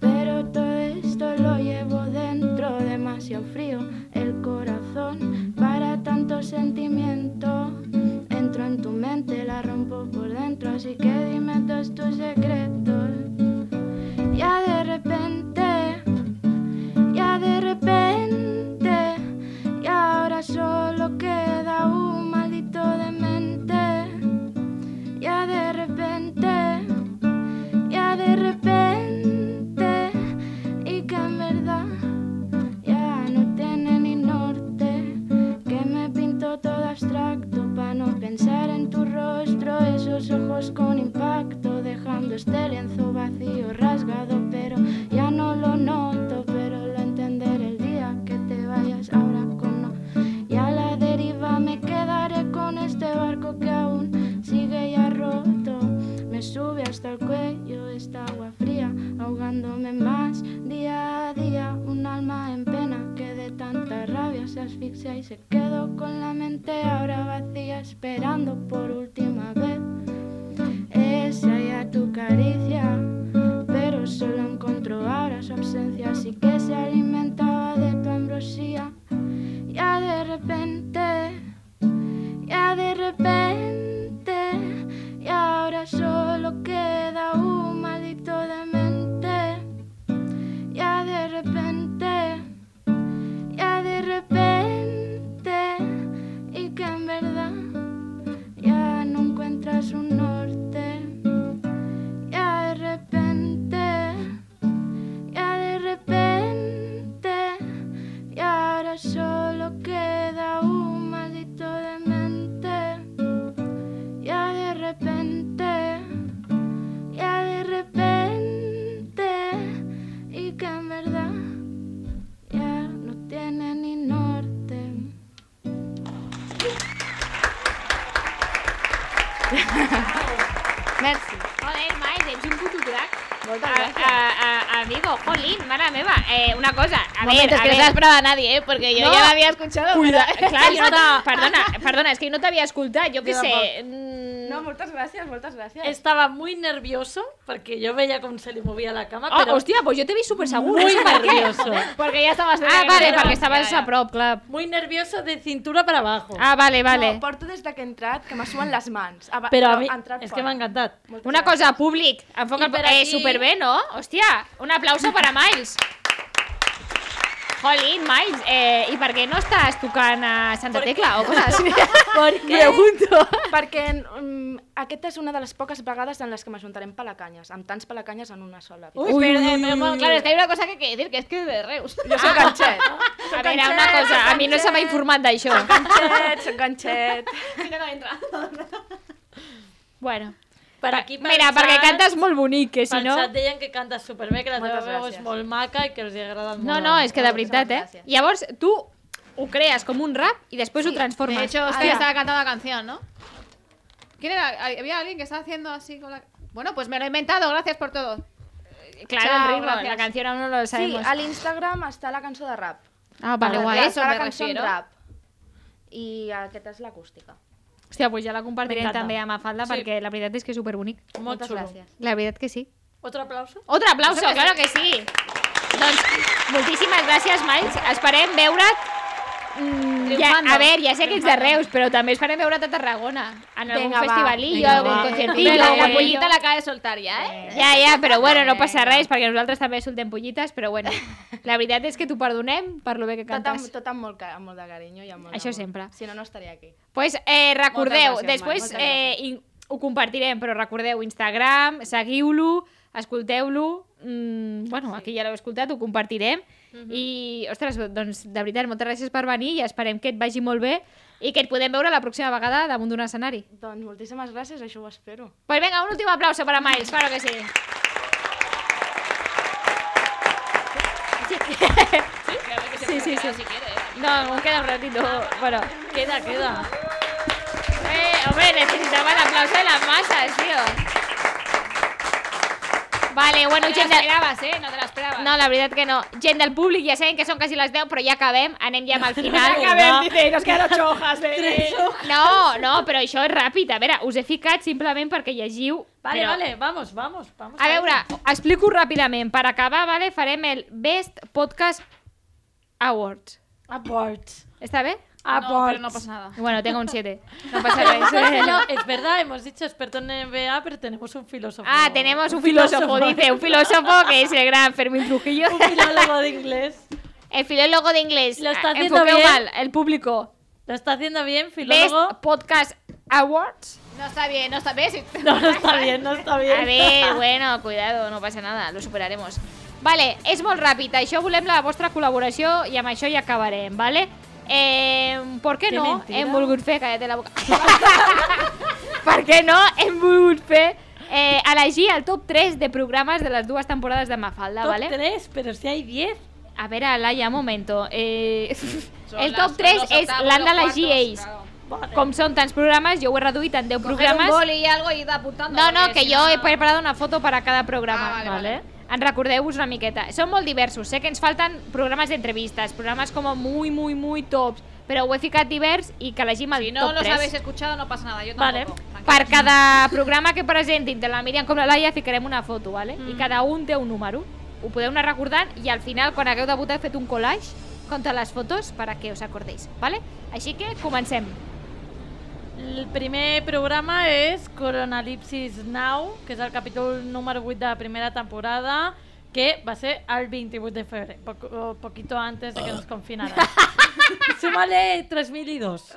Pero todo esto lo llevo dentro, demasiado frío el corazón para tanto sentimiento. Entro en tu mente, la rompo por dentro, así que dime todos tus secretos. Ya de repente, ya de repente, y ahora solo queda un maldito demente. Ya de repente, ya de repente, y que en verdad ya no tiene ni norte, que me pinto todo abstracto para no pensar en tu rostro, esos ojos con impacto, dejando este lienzo vacío, rasgado, pero ya no lo noto, pero lo entenderé el día que te vayas ahora con no. Y a la deriva me quedaré con este barco que aún sigue ya roto. Me sube hasta el cuello esta agua fría, ahogándome más día a día. Un alma en pena que de tanta rabia se asfixia y se quedó con la mente ahora vacía, esperando por última vez esa ya tu caricia. Pero solo encontró ahora su ausencia, así que se alimentaba de tu ambrosía. Ya de repente, ya de repente. Y ahora solo queda un maldito demente. Ya de repente, ya de repente. Y que en verdad ya no encuentras un norte. Ya de repente, ya de repente. Y ahora solo queda un maldito demente. Ya de repente, ya de repente, y que en verdad ya no tiene ni norte.
Merci.
Joder, Mike, ets un puto crac.
Moltes
A-
gràcies.
a- a- amigo, jolín, mare meva, eh, una cosa, a
Un
ver,
momento, es
a
que
ver.
no se la esperaba nadie, ¿eh? Porque yo ya la había escuchado.
Cuida.
pero-
Clar, jo no, perdona, perdona, es que no t'havia escoltat, jo què
Jo
sé.
tampoc.
mm,
No, moltes gràcies, moltes gràcies.
Estaba muy nervioso porque yo veía cómo se le movía la cama.
Ah,
Oh,
pero
hostia, pues yo te vi súper seguro.
Muy
¿Sabes por qué?
nervioso.
Porque ya estabas
Ah, vale,
Pero-
perquè estaves
Ja, ja.
a prop, clar.
Muy nervioso de cintura para abajo.
Ah, vale, vale.
No, porto des de que he entrat que me suen les mans. Aba-
Pero a mí
he entrat
es
fora.
que me ha encantado.
Una cosa, públic, enfoca
I
el...
per
Eh,
aquí-
superbé, no? Hòstia, un aplauso para Miles. Jolín, Miles, eh, i per què no estàs tocant a Santa Tecla o coses així?
Pregunto. Perquè um, aquesta és una de les poques vegades en les que m'ajuntarem palacanyes, amb tants palacanyes en una sola. vida.
Uy, perdón, perdón. Claro, es que hay una cosa que hay que decir, que es que de Reus.
Jo soc ganxet.
Ah. A veure, una cosa, a mi no se m'ha informat d'això.
Ganxet, soc ganxet.
Mira que entra.
Bueno,
Per aquí, pel
mira,
xat-
perquè cantes molt bonic, que si
Pel
no...
xat deien que cantes superbé, que la teva
Moltes
veu és
gràcies.
molt maca i que els hi agrada molt.
No, no, és
Ah,
que de veritat, eh?
gràcies.
Llavors, tu ho crees com un rap i després ho transformes.
De hecho, usted
Hòstia.
estaba cantando la canción, ¿no? ¿Quién era? Había alguien que estaba haciendo así con la... Bueno, pues me lo he inventado, gracias por todo.
Eh, Claro,
Chao,
el ritmo, la
gracias.
canción aún no lo
Sí,
sabemos.
a l'Instagram està la cançó de rap.
Ah, vale,
Està
guai.
la-
eso
Està
me
la cançó en
refiero.
rap. I aquesta és l'acústica.
Hòstia, pues ja la compartirem
M'encanta.
també a Mafalda
Sí.
perquè la veritat és que és superbonic.
Molt
Moltes
xulo.
gràcies.
La veritat que sí.
Otro aplauso.
Otro aplauso, claro que sí. Doncs moltíssimes gràcies, Miles. Esperem veure't Mm, ja,
Triomfando.
a veure, ja sé que ets de Reus, però també esperem veure't a Tarragona, en algun
Venga, va.
festivalillo,
Venga,
algun
va.
concertillo.
Mira, la
algun
pollita
allò.
la acaba de soltar ya, ¿eh?
Ja, ja, però bueno, no passa res, perquè nosaltres també soltem pollites, però bueno, la veritat és que t'ho perdonem per lo bé que
Tot amb,
cantes.
tot amb molt, ca- amb molt de carinyo i amb molt
Això
d'amor.
sempre.
Si no, no estaria aquí.
Pues, eh, recordeu,
Moltes gràcies,
després
Mari, moltes
eh, in, ho compartirem, però recordeu Instagram, seguiu-lo, escolteu-lo, mm, bueno, aquí ja l'heu escoltat, ho compartirem,
Mhm.
i, ostres, doncs, de veritat, moltes gràcies per venir i esperem que et vagi molt bé i que et podem veure la pròxima vegada damunt d'un escenari.
Doncs moltíssimes gràcies, això ho espero.
Pues venga, un último aplauso para Miles, claro que sí. Sí, sí, sí. No, nos queda un ratito. Bueno,
Queda, queda.
eh, hombre, necesitaba el aplauso de las masas, tío. Vale, bueno,
No te
gent
l'esperabes, eh? No te l'esperabes.
No, la veritat que no. Gent del públic, ja sabem que són quasi les 10, però ja acabem, anem ja amb el final.
Ja acabem, dice, nos quedan ocho hojas, bebé. Tres
No, no, però això és ràpid. A veure, us he ficat simplement perquè llegiu.
Vale,
però...
vale, vamos, vamos, vamos.
A veure, explico ràpidament. Per acabar, vale, farem el Best Podcast Awards.
Awards.
¿Està bé?
Awards. No, pero no pasa
Ah.
nada.
Bueno, tengo un 7. No pasa nada.
No, es verdad, hemos dicho experto en NBA, pero tenemos un filósofo.
Ah, tenemos un filósofo, dice, un filósofo que es el gran Fermín Trujillo. Un
filólogo de inglés.
El filólogo de inglés.
Lo está
Ah,
haciendo
enfoqueo
bien.
mal, el público.
Lo está haciendo bien,
Best
filólogo.
Podcast Awards.
No está bien, no está bien.
No, no está bien, no está bien.
A ver, bueno, cuidado, no pasa nada, lo superaremos. Vale, és molt ràpid, això volem la vostra col·laboració i amb això ja acabarem, vale? Eh, per què
Que
no
mentida.
hem volgut fer, calla't la boca, per què no hem volgut fer eh, elegir el top 3 de programes de les dues temporades de Mafalda,
Top
vale?
3, però si hay 10.
A veure, Laia, un momento. Eh, el
las-
top
son
3
los
és
octavos,
l'han
los
d'elegir
cuartos,
ells. Com són tants programes, jo ho he reduït en 10
Coger un
programes.
boli Ah. y algo y ir apuntando.
No, no,
porque
que
si
jo he preparat una foto per a cada programa,
Ah, vale,
vale, vale. En recordeu-vos una miqueta. Són molt diversos, sé que ens falten programes d'entrevistes, programes com a muy, muy, muy tops, però ho he ficat divers i que elegim el
Si no
top
los
3.
habéis escuchado, no pasa nada. Yo
Vale.
tampoco.
Per cada programa que presentin, de la Míriam com la Laia, ficarem una foto, vale? I cada un té un número. Ho podeu anar recordant i al final, quan hagueu de votar, he fet un collage contra les fotos perquè us acordéis, vale? Així que comencem.
El primer programa és Coronalipsis Now, que és el capítol número 8 de la primera temporada, que va ser el 28 de febrer, poc, o poquito antes de que nos confinaran. Súmale 3002.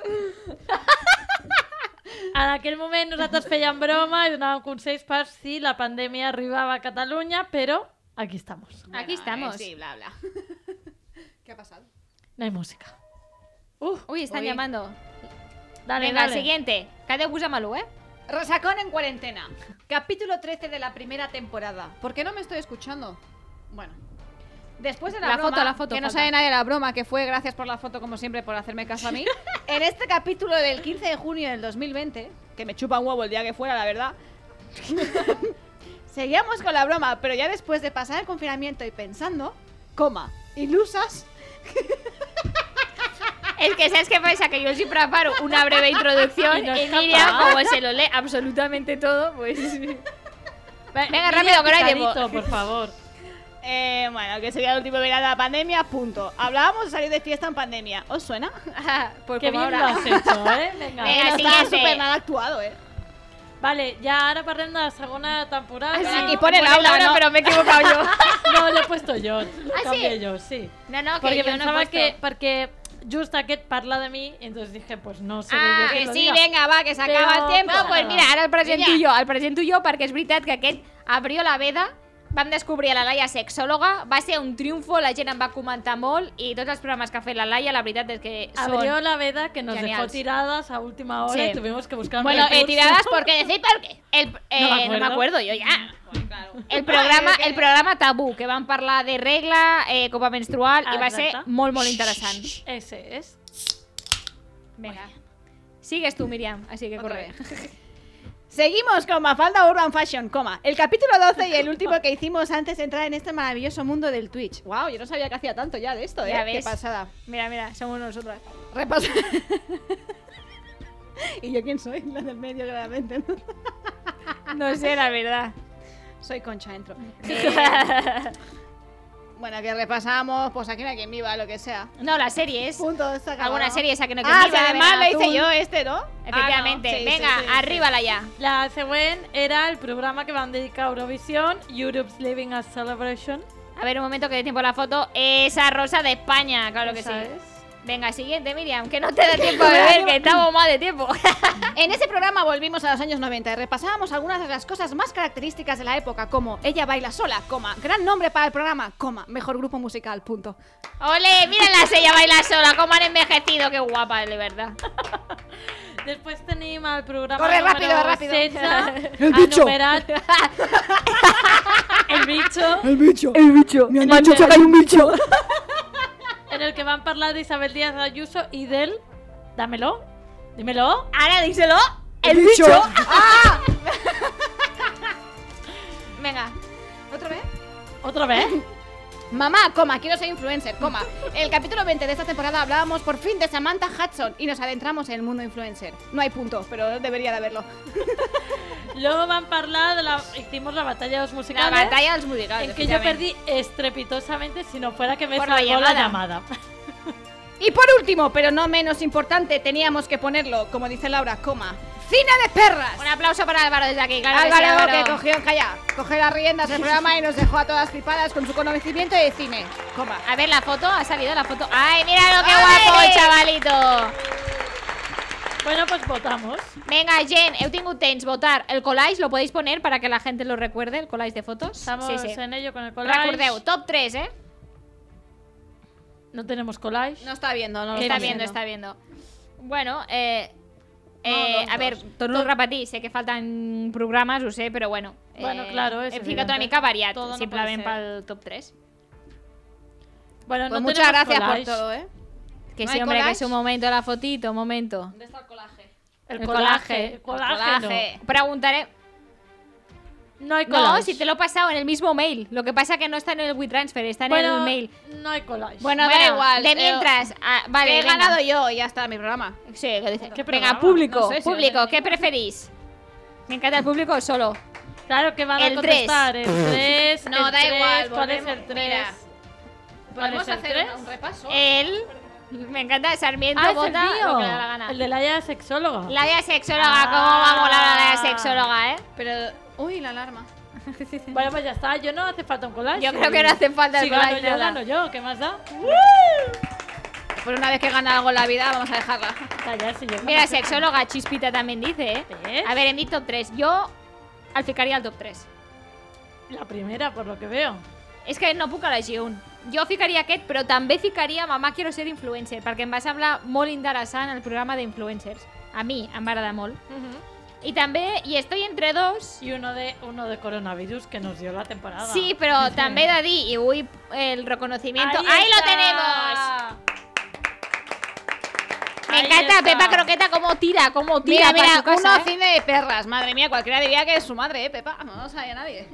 En aquell moment nosaltres fèiem broma i donàvem consells per si la pandèmia arribava a Catalunya, però aquí estamos.
Aquí estamos.
eh, sí, bla, bla. ¿Qué ha pasado?
No hay música.
Uy, están
Uy.
llamando.
Dale,
Venga,
dale.
siguiente. Cada usa malo, ¿eh?
Resacón en cuarentena. Capítulo 13 de la primera temporada. ¿Por qué no me estoy escuchando? Bueno. Después de la,
La
broma,
foto, la foto,
que no
falta.
sabe nadie la broma, que fue gracias por la foto como siempre por hacerme caso a mí. en este capítulo del 15 de junio del 2020, que me chupa un huevo el día que fuera, la verdad. Seguíamos con la broma, pero ya después de pasar el confinamiento y pensando, coma, ilusas,
Es que, ¿sabes qué pasa? Que yo sí preparo una breve introducción
Y
y,
nos
Miriam,
escapa.
como se lo lee absolutamente todo, pues... Venga,
Miriam,
rápido, que no hay tiempo.
picadito, por favor.
Eh, bueno, que sería el último verano de la pandemia, punto. Hablábamos de salir de fiesta en pandemia. ¿Os suena?
pues
Que
como
bien
ahora.
lo has hecho, eh?
Venga,
Vinga.
no está
siguiente.
súper mal actuado, eh.
Vale, ya ahora parlem de la segunda temporada.
Ah, sí, aquí pone Laura, ¿no? pero me he equivocado yo.
no, lo he puesto yo. Lo
Ah,
cambié
sí?
yo, sí.
No, no, que
porque
yo no he
pensaba
puesto.
que. Porque just aquest parla de mí, entonces dije, pues no sé
Ah,
yo que
que
lo
sí,
diga.
venga, va, que se
Però
acaba el tiempo.
passa
No, pues
nada.
mira, ara el presento
Mira.
jo, el presento jo perquè és veritat que aquest abrió la veda, vam descobrir a la Laia sexòloga, va ser un triomfo, la gent en va comentar molt i tots els programes que ha fet la Laia, la veritat és que són...
Abrió la veda que nos dejó
genials.
tiradas a última hora
Sí.
y tuvimos que buscar un
Bueno, eh,
recurso.
tiradas porque decir por qué. El, eh, no, me
acuerdo.
acuerdo yo ya. El programa, el programa tabú, que van parlar de regla, eh, copa menstrual, i va ser
Exacte.
molt, molt interessant.
Ese es.
Venga. Sigues tu, Miriam, así que corre.
Seguimos con Mafalda Urban Fashion, coma. El capítulo 12 y el último que hicimos antes de entrar en este maravilloso mundo del Twitch. Wow, yo no sabía que hacía tanto ya de esto, eh.
Ya
Qué
ves.
pasada.
Mira, mira, somos nosotras.
Repaso. ¿Y yo quién soy? La del medio, claramente.
No sé, la verdad.
Soy concha, entro.
Eh,
Bueno, que repasamos, pues aquí no hay quien viva, lo que sea.
No, las series.
Punto, se acabó.
Alguna serie esa que no
Ah,
quería.
sí, además la hice yo, este, ¿no?
Efectivamente.
Ah, no. Sí,
Venga,
sí, sí, sí.
arríbala ya.
La següent era el programa que van dedicar a Eurovisión, Europe's Living a Celebration.
A ver, un momento que dé tiempo a la foto. Esa rosa de España, claro que sí.
Esa es.
Venga, siguiente, Miriam, que no te da tiempo a beber, que estamos mal de tiempo.
En ese programa volvimos a los años 90 y repasábamos algunas de las cosas más características de la época, como Ella baila sola, coma, gran nombre para el programa, coma, mejor grupo musical, punto.
Ole, mírala, ella baila sola, cómo han envejecido, qué guapa, de verdad.
Després tenim el programa
Corre, rápido,
número
rápido.
16,
El bicho.
anomenat... el bicho,
El bicho. El bicho. Me han dicho que hay un bicho.
en el que van parlar d'Isabel Díaz Ayuso i del... Dámelo, dímelo.
Ahora díselo, el
bicho.
Venga.
¿Otra vez?
¿Otra vez?
Mamá, coma, quiero ser influencer, coma. El capítulo 20 de esta temporada hablábamos por fin de Samantha Hudson y nos adentramos en el mundo influencer. No hay punto, pero debería de haberlo.
Luego van a hablar de la... Hicimos la batalla de los musicales.
La batalla de los musicales,
En que yo perdí
efectivamente.
estrepitosamente si no fuera que me
Por la
salvó la
llamada.
llamada.
Y por último, pero no menos importante, teníamos que ponerlo, como dice Laura, coma. ¡Cine de perras!
Un aplauso para Álvaro desde aquí, claro. que sí,
Álvaro
Álvaro.
que cogió, calla, cogió las riendas del programa y nos dejó a todas flipadas con su conocimiento de cine. Coma.
A ver la foto, ha salido la foto. ¡Ay, mira lo que
¡Ole!
guapo, chavalito!
Bueno, pues votamos.
Venga, Jen, heu tingut temps, votar. El collage lo podéis poner para que la gente lo recuerde, el collage de fotos.
Estamos en ello con el collage.
Recordeu, top 3, ¿eh?
No tenemos collage.
No está viendo, no
lo
Está
está
viendo,
viendo.
está viendo. Bueno, eh... eh,
No, dos,
a ver, torno a repetir, sé que faltan programes, ho sé, però bueno. eh,
Bueno, claro, és
Hem ficat una
evidente.
mica variat,
Todo no
simplement
puede
pel top 3.
Bueno,
Pues
no
muchas
tenemos
gracias por
collage.
todo, ¿eh?
Que
¿No
sí,
hay
hombre, que
collage?
es un momento la fotito, un momento.
¿Dónde está el colaje?
El,
El
colaje. El
colaje.
colágeno.
Preguntaré.
No hay collage.
No, si te lo he pasado en el mismo mail. Lo que pasa que no está en el WeTransfer, está en
Bueno,
el mail.
No hay collage.
Bueno, da igual, de mientras, ah, vale,
eh, que he
venga.
ganado yo y ya está mi programa.
Sí, que dice-
¿Qué
Venga,
programa?
público,
No sé si lo
público, ¿qué preferís? Me encanta el público o solo.
Oh.
Claro que van
El
a
tres.
contestar el 3.
No,
el
da igual,
tres, ¿Cuál es
volvemos.
el 3?
Mira,
¿Cuál es
Podemos
el
hacer Eh,
3?
un, un repaso.
Él, me encanta, Sarmiento
Ah, es el
vota lo que le da la
mío.
gana.
El de la ya sexóloga.
La vía sexóloga, ¿cómo va a molar la vía sexóloga, eh?
Pero. Uy, la alarma.
Bueno, pues ya está. Yo no hace falta un collage.
Yo creo que no hace falta el
si
collage,
Si gano yo,
nada.
gano yo. ¿Qué más da?
Pues una vez que gana algo en la vida, vamos a dejarla.
Calla, si yo
Mira, sexóloga, Chispita también dice, eh.
¿Ves?
A ver, en mi top 3. Yo al ficaria al top 3.
La primera, por lo que veo.
És que no puc elegir un. Jo ficaria aquest, però també ficaria Mamà quiero ser influencer, perquè em va semblar molt interessant el programa d'influencers. A mi em va agradar molt.
Mhm.
I també, i estoy entre dos,
Y uno de, uno de coronavirus que nos dio la temporada.
sí, però també he de dir, i vull el reconocimiento.
Ahí
¡Ahí, lo
está.
tenemos! Me
Ahí
encanta
está.
Pepa Croqueta cómo tira, cómo tira
Mira,
para
mira,
su casa,
uno
eh.
cine de perras. Madre mía, cualquiera diría que es su madre, ¿eh, Pepa? No lo sabía nadie.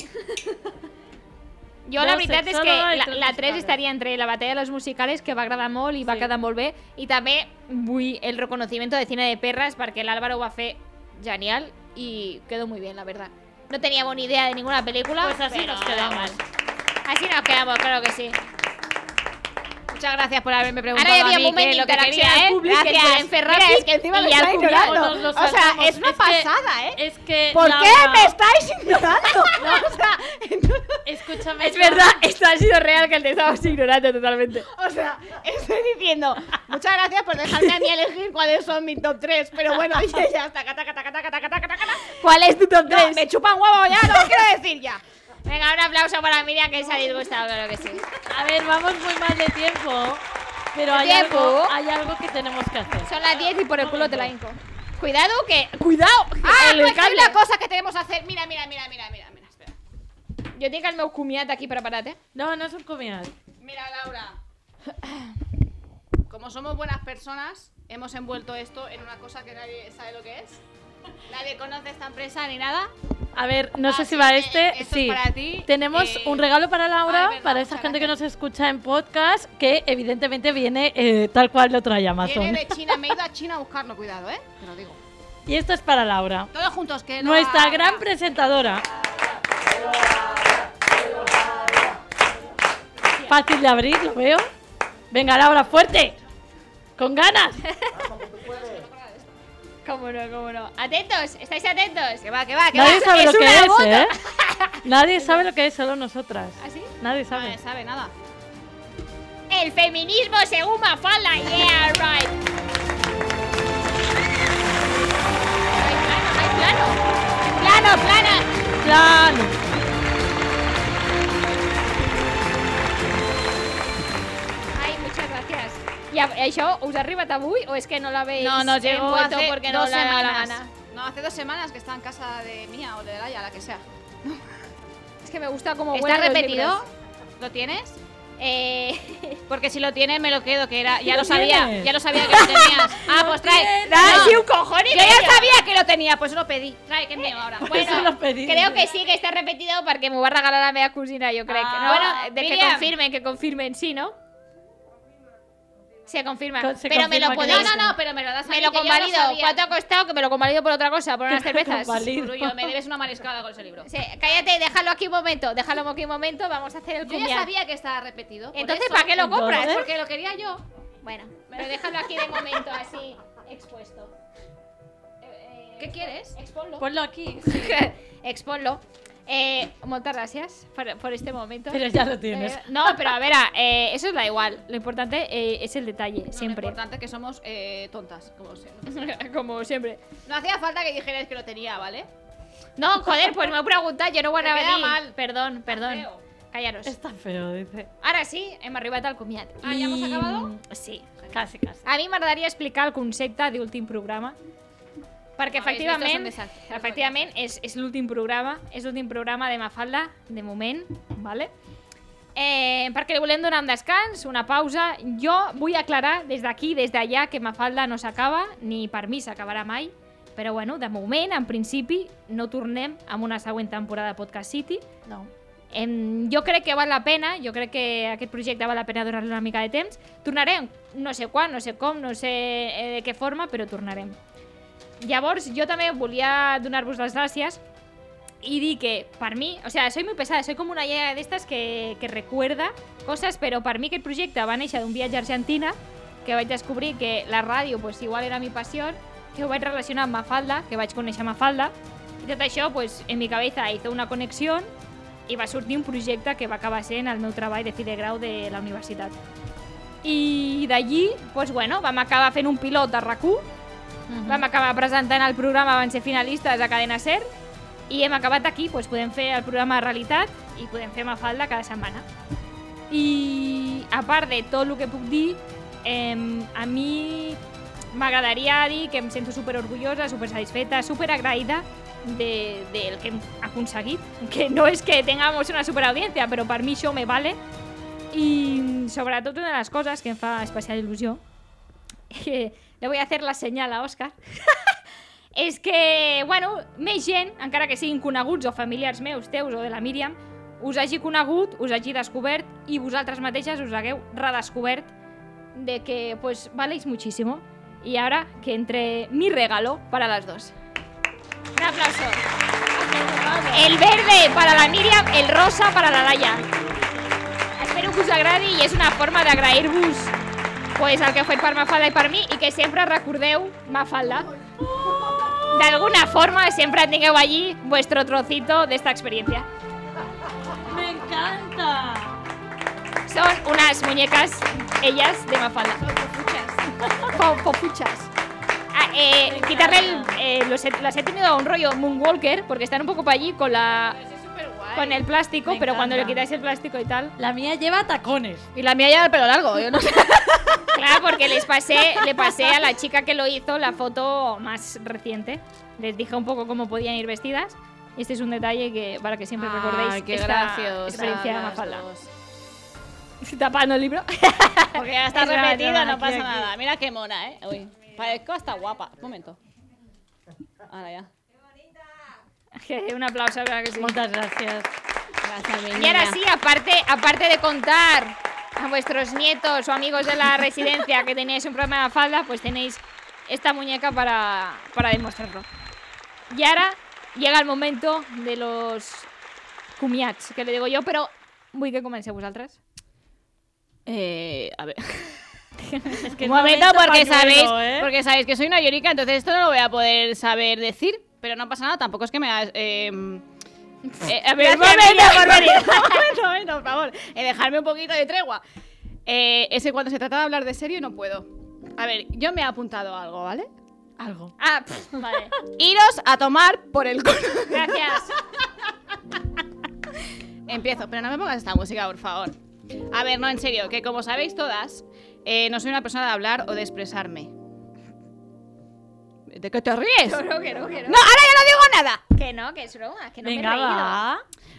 Jo la
Dos
veritat és que
sexòloga i
la,
tres
la 3
musicales.
estaria entre la batalla de los musicales, que va agradar molt i va
Sí.
quedar molt bé, i també vull el reconocimiento de Cine de Perras perquè l'Álvaro ho va fer genial i quedó muy bien, la verdad. No teníamos ni idea de ninguna película,
Pues así
pero
nos
da
quedamos.
igual. Así nos quedamos, claro que sí.
Muchas gracias por haberme preguntado
Ahora
a
había
mí
un momento
qué es lo que
interacción al
quería, ¿eh?
público,
Gracias.
entre Ferraz
Mira,
y-
es que encima
y
me estáis
Alcubiano.
ignorando.
Todos los
O sea,
saltamos.
es una
Es que-
pasada, ¿eh?
Es que.
¿Por
Laura-
qué me estáis ignorando? o sea,
Escúchame.
Es verdad, esto ha sido real que te estabas ignorando totalmente.
O sea, estoy diciendo, muchas gracias por dejarme a mí elegir cuáles son mis top 3, pero bueno, ya, ya está, cata, cata, cata, cata, cata, cata, cata.
¿Cuál es tu top
No,
3?
me chupan huevo ya, no lo quiero decir ya.
Venga, un aplauso para Miriam que se ha disgustado, claro que sí.
A ver, vamos muy mal de tiempo. Pero
¿De
hay,
tiempo?
Algo, hay algo que tenemos que hacer.
Son las 10 y por el culo te la
Momento.
hinco. Cuidado que... Cuidado!
Ah,
El
pues hay
cable.
una cosa que tenemos que hacer. Mira, mira, mira, mira, mira, mira, espera.
Jo tinc el meu comiat aquí preparat, eh?
No, no es un comial.
Mira, Laura. Como somos buenas personas, hemos envuelto esto en una cosa que nadie sabe lo que es. Nadie conoce esta empresa ni nada.
A ver, no
Ah,
sé
Así
si
eh,
va
que
este.
esto es
Sí.
para ti,
Tenemos
eh,
un regalo para Laura,
ah, verdad,
para esa
muchas
gente que nos escucha en podcast, que evidentemente viene eh, tal cual lo trae Amazon.
Viene de China, me he ido a China a buscarlo, cuidado, ¿eh? Te lo digo.
Y esto es para Laura,
Todos juntos, que no
nuestra
va-
gran presentadora. Fácil de abrir, lo veo. Venga, Laura, fuerte. Con ganas.
Cómo no, cómo no. Atentos, estáis atentos.
Que va, que va, que
Nadie
va.
sabe
es
lo que
una
es,
bota.
¿eh? Nadie sabe lo que es, solo nosotras.
¿Ah, sí?
Nadie
No
sabe.
nadie sabe nada.
El feminismo según Mafalda, yeah, right. Hay plano, hay plano. Plano, plana.
Plano.
Ay, muchas gracias. I a- això us ha arribat avui o és que no l'habéis
No, no, llegó
envuelto
hace
porque no
dos
la da la
semanas.
gana?
No, hace dos semanas que está en casa de mía o de Laia, la que sea.
Es que me gusta como
¿Está repetido? ¿Lo tienes? Porque si lo tienes me lo quedo, que era, ya
Eh, lo
lo, sabía,
tienes?
ya lo sabía que lo tenías. Ah, pues trae.
tienes. Trae un
cojón
i
Yo ya
medio.
sabía que lo tenía, pues lo pedí. Trae, que es mío ahora.
Bueno, creo que sí, que está repetido porque me va a regalar la media cocina, yo creo. que-
Ah,
bueno, de que
Miriam.
confirmen, que confirmen, sí, ¿no? Se confirma.
Con- se
pero me lo
confirma que
podéis...
no. No, no, pero me lo das a
Me
mí,
lo
que yo lo
convalido.
sabía.
¿Cuánto ha costado? Que me lo convalido por otra cosa, por unas cervezas.
Convalido. Grullo, me debes una mariscada con ese libro.
Sí, cállate, déjalo aquí un momento. Déjalo aquí un momento, vamos a hacer el
Yo
cuñado.
ya sabía que estaba repetido. por
Entonces,
eso.
¿para qué lo compras?
Pues Porque lo quería yo.
Bueno, pero déjalo aquí de momento, así expuesto. Eh,
¿Qué quieres?
Exponlo.
Ponlo aquí.
Exponlo. Eh, muchas gracias por, por este momento.
Pero ya lo tienes.
Eh, no, pero a ver, a- eh, eso da igual. Lo importante eh, es el detalle, siempre.
Lo importante es que somos eh, tontas, como siempre.
Como siempre.
No hacía falta que dijeras que lo tenía, ¿vale?
No, joder, pues me he preguntado, yo no voy a
Te queda
venir.
mal.
Perdón, perdón.
feo.
Callaros.
Está feo, dice.
Ara sí, hem arribat al comiat.
Ah, ja hemos
I-
acabado?
Sí.
Casi, casi.
A mi m'agradaria explicar el concepte d'últim programa, perquè
No, és que esto es un
efectivament,
desastre.
efectivament és, és l'últim programa, és l'últim programa de Mafalda, de moment, vale? Eh, perquè li volem donar un descans, una pausa. Jo vull aclarar des d'aquí, des d'allà, que Mafalda no s'acaba, ni per mi s'acabarà mai, però bueno, de moment, en principi, no tornem amb una següent temporada de Podcast City,
No.
Em, jo crec que val la pena, jo crec que aquest projecte val la pena donar-li una mica de temps. Tornarem, no sé quan, no sé com, no sé eh, de què forma, però tornarem. Llavors, jo també volia donar-vos les gràcies y di que para mí, o sea, soy muy pesada, soy como una idea de estas que, que recuerda cosas, pero para mí que el proyecto va néixer d'un viatge a Argentina, que vaig descobrir que la ràdio pues, igual era mi passió, que ho vaig relacionar amb Mafalda, que vaig conèixer Mafalda, i tot això pues, en mi cabeza hizo una connexió i va sortir un projecte que va acabar sent el meu treball de fi de grau de la universitat. I d'allí, pues, bueno, vam acabar fent un pilot de rac vam acabar presentant el programa, vam ser finalistes a Cadena Ser i hem acabat aquí, doncs podem fer el programa de realitat i podem fer Mafalda cada setmana. I a part de tot el que puc dir, eh, a mi m'agradaria dir que em sento super orgullosa, super satisfeta, super agraïda de, del que hem aconseguit, que no és que tengamos una super audiència, però per mi això me vale. I sobretot una de les coses que em fa especial il·lusió que le voy a hacer la senyal a Òscar, és que, bueno, més gent, encara que siguin coneguts o familiars meus, teus o de la Míriam, us hagi conegut, us hagi descobert i vosaltres mateixes us hagueu redescobert de que, pues, valéis muchísimo. Y ahora que entre mi regalo para las dos. Un aplauso. El verde para la Míriam, el rosa para la Laia. Espero que us agradi i és una forma d'agrair-vos pues, el que ha fet per Mafalda i per mi i que sempre recordeu Mafalda. D'alguna forma sempre tingueu allí vuestro trocito d'esta experiència.
¡Me encanta!
Son unas muñecas, ellas, de Mafalda. Son popuchas. Ah, eh, quitarle el, eh, los, he- las he tenido a un rollo Moonwalker porque están un poco para allí con la con el plástico,
Me
pero cuando le
encanta.
quitáis el plástico y tal.
La mía lleva tacones.
Y la mía lleva el pelo largo, yo no sé.
Claro, porque les pasé, le pasé a la chica que lo hizo la foto más reciente. Les dije un poco cómo podían ir vestidas. Y este es un detalle que para que siempre recordéis
Ah, qué
esta
graciosa,
experiencia de
las
Mafalda.
dos.
Estoy Tapando el libro.
Porque ya está
Es broma,
repetido,
broma,
no
aquí,
pasa
aquí.
nada. Mira qué mona, ¿eh? Uy, parezco hasta guapa. Un momento. Ahora ya.
un aplauso, la verdad que sí.
Muchas gracias.
Gracias, mi
Y ahora
niña.
sí, aparte, aparte de contar a vuestros nietos o amigos de la residencia que tenéis un programa de falda, pues tenéis esta muñeca para, para demostrarlo. Y ahora llega el momento de los cumiats, que le digo yo, pero voy que comenceu vosaltres.
Eh, a ver.
que
un
es
momento
momento
porque
pañuelo,
sabéis,
¿eh?
porque sabéis que soy una llorica, entonces esto no lo voy a poder saber decir, pero no pasa nada, tampoco es que me ha- eh, eh, a ver,
Gracias,
un momento,
Miriam,
por
Miriam.
favor, un momento, por favor, eh, dejarme un poquito de tregua. Eh, es que cuando se trata de hablar de serio no puedo. A ver, yo me he apuntado algo, ¿vale?
Algo.
Ah, pff, vale.
Iros a tomar por el culo.
Gracias.
Empiezo, pero no me pongas esta música, por favor. A ver, no, en serio, que como sabéis todas, eh, no soy una persona de hablar o de expresarme. ¿De qué te ríes?
No, no, que no, que no.
No, ahora ya no digo nada.
Que no, que es broma, que no
Venga,
me he reído.
va.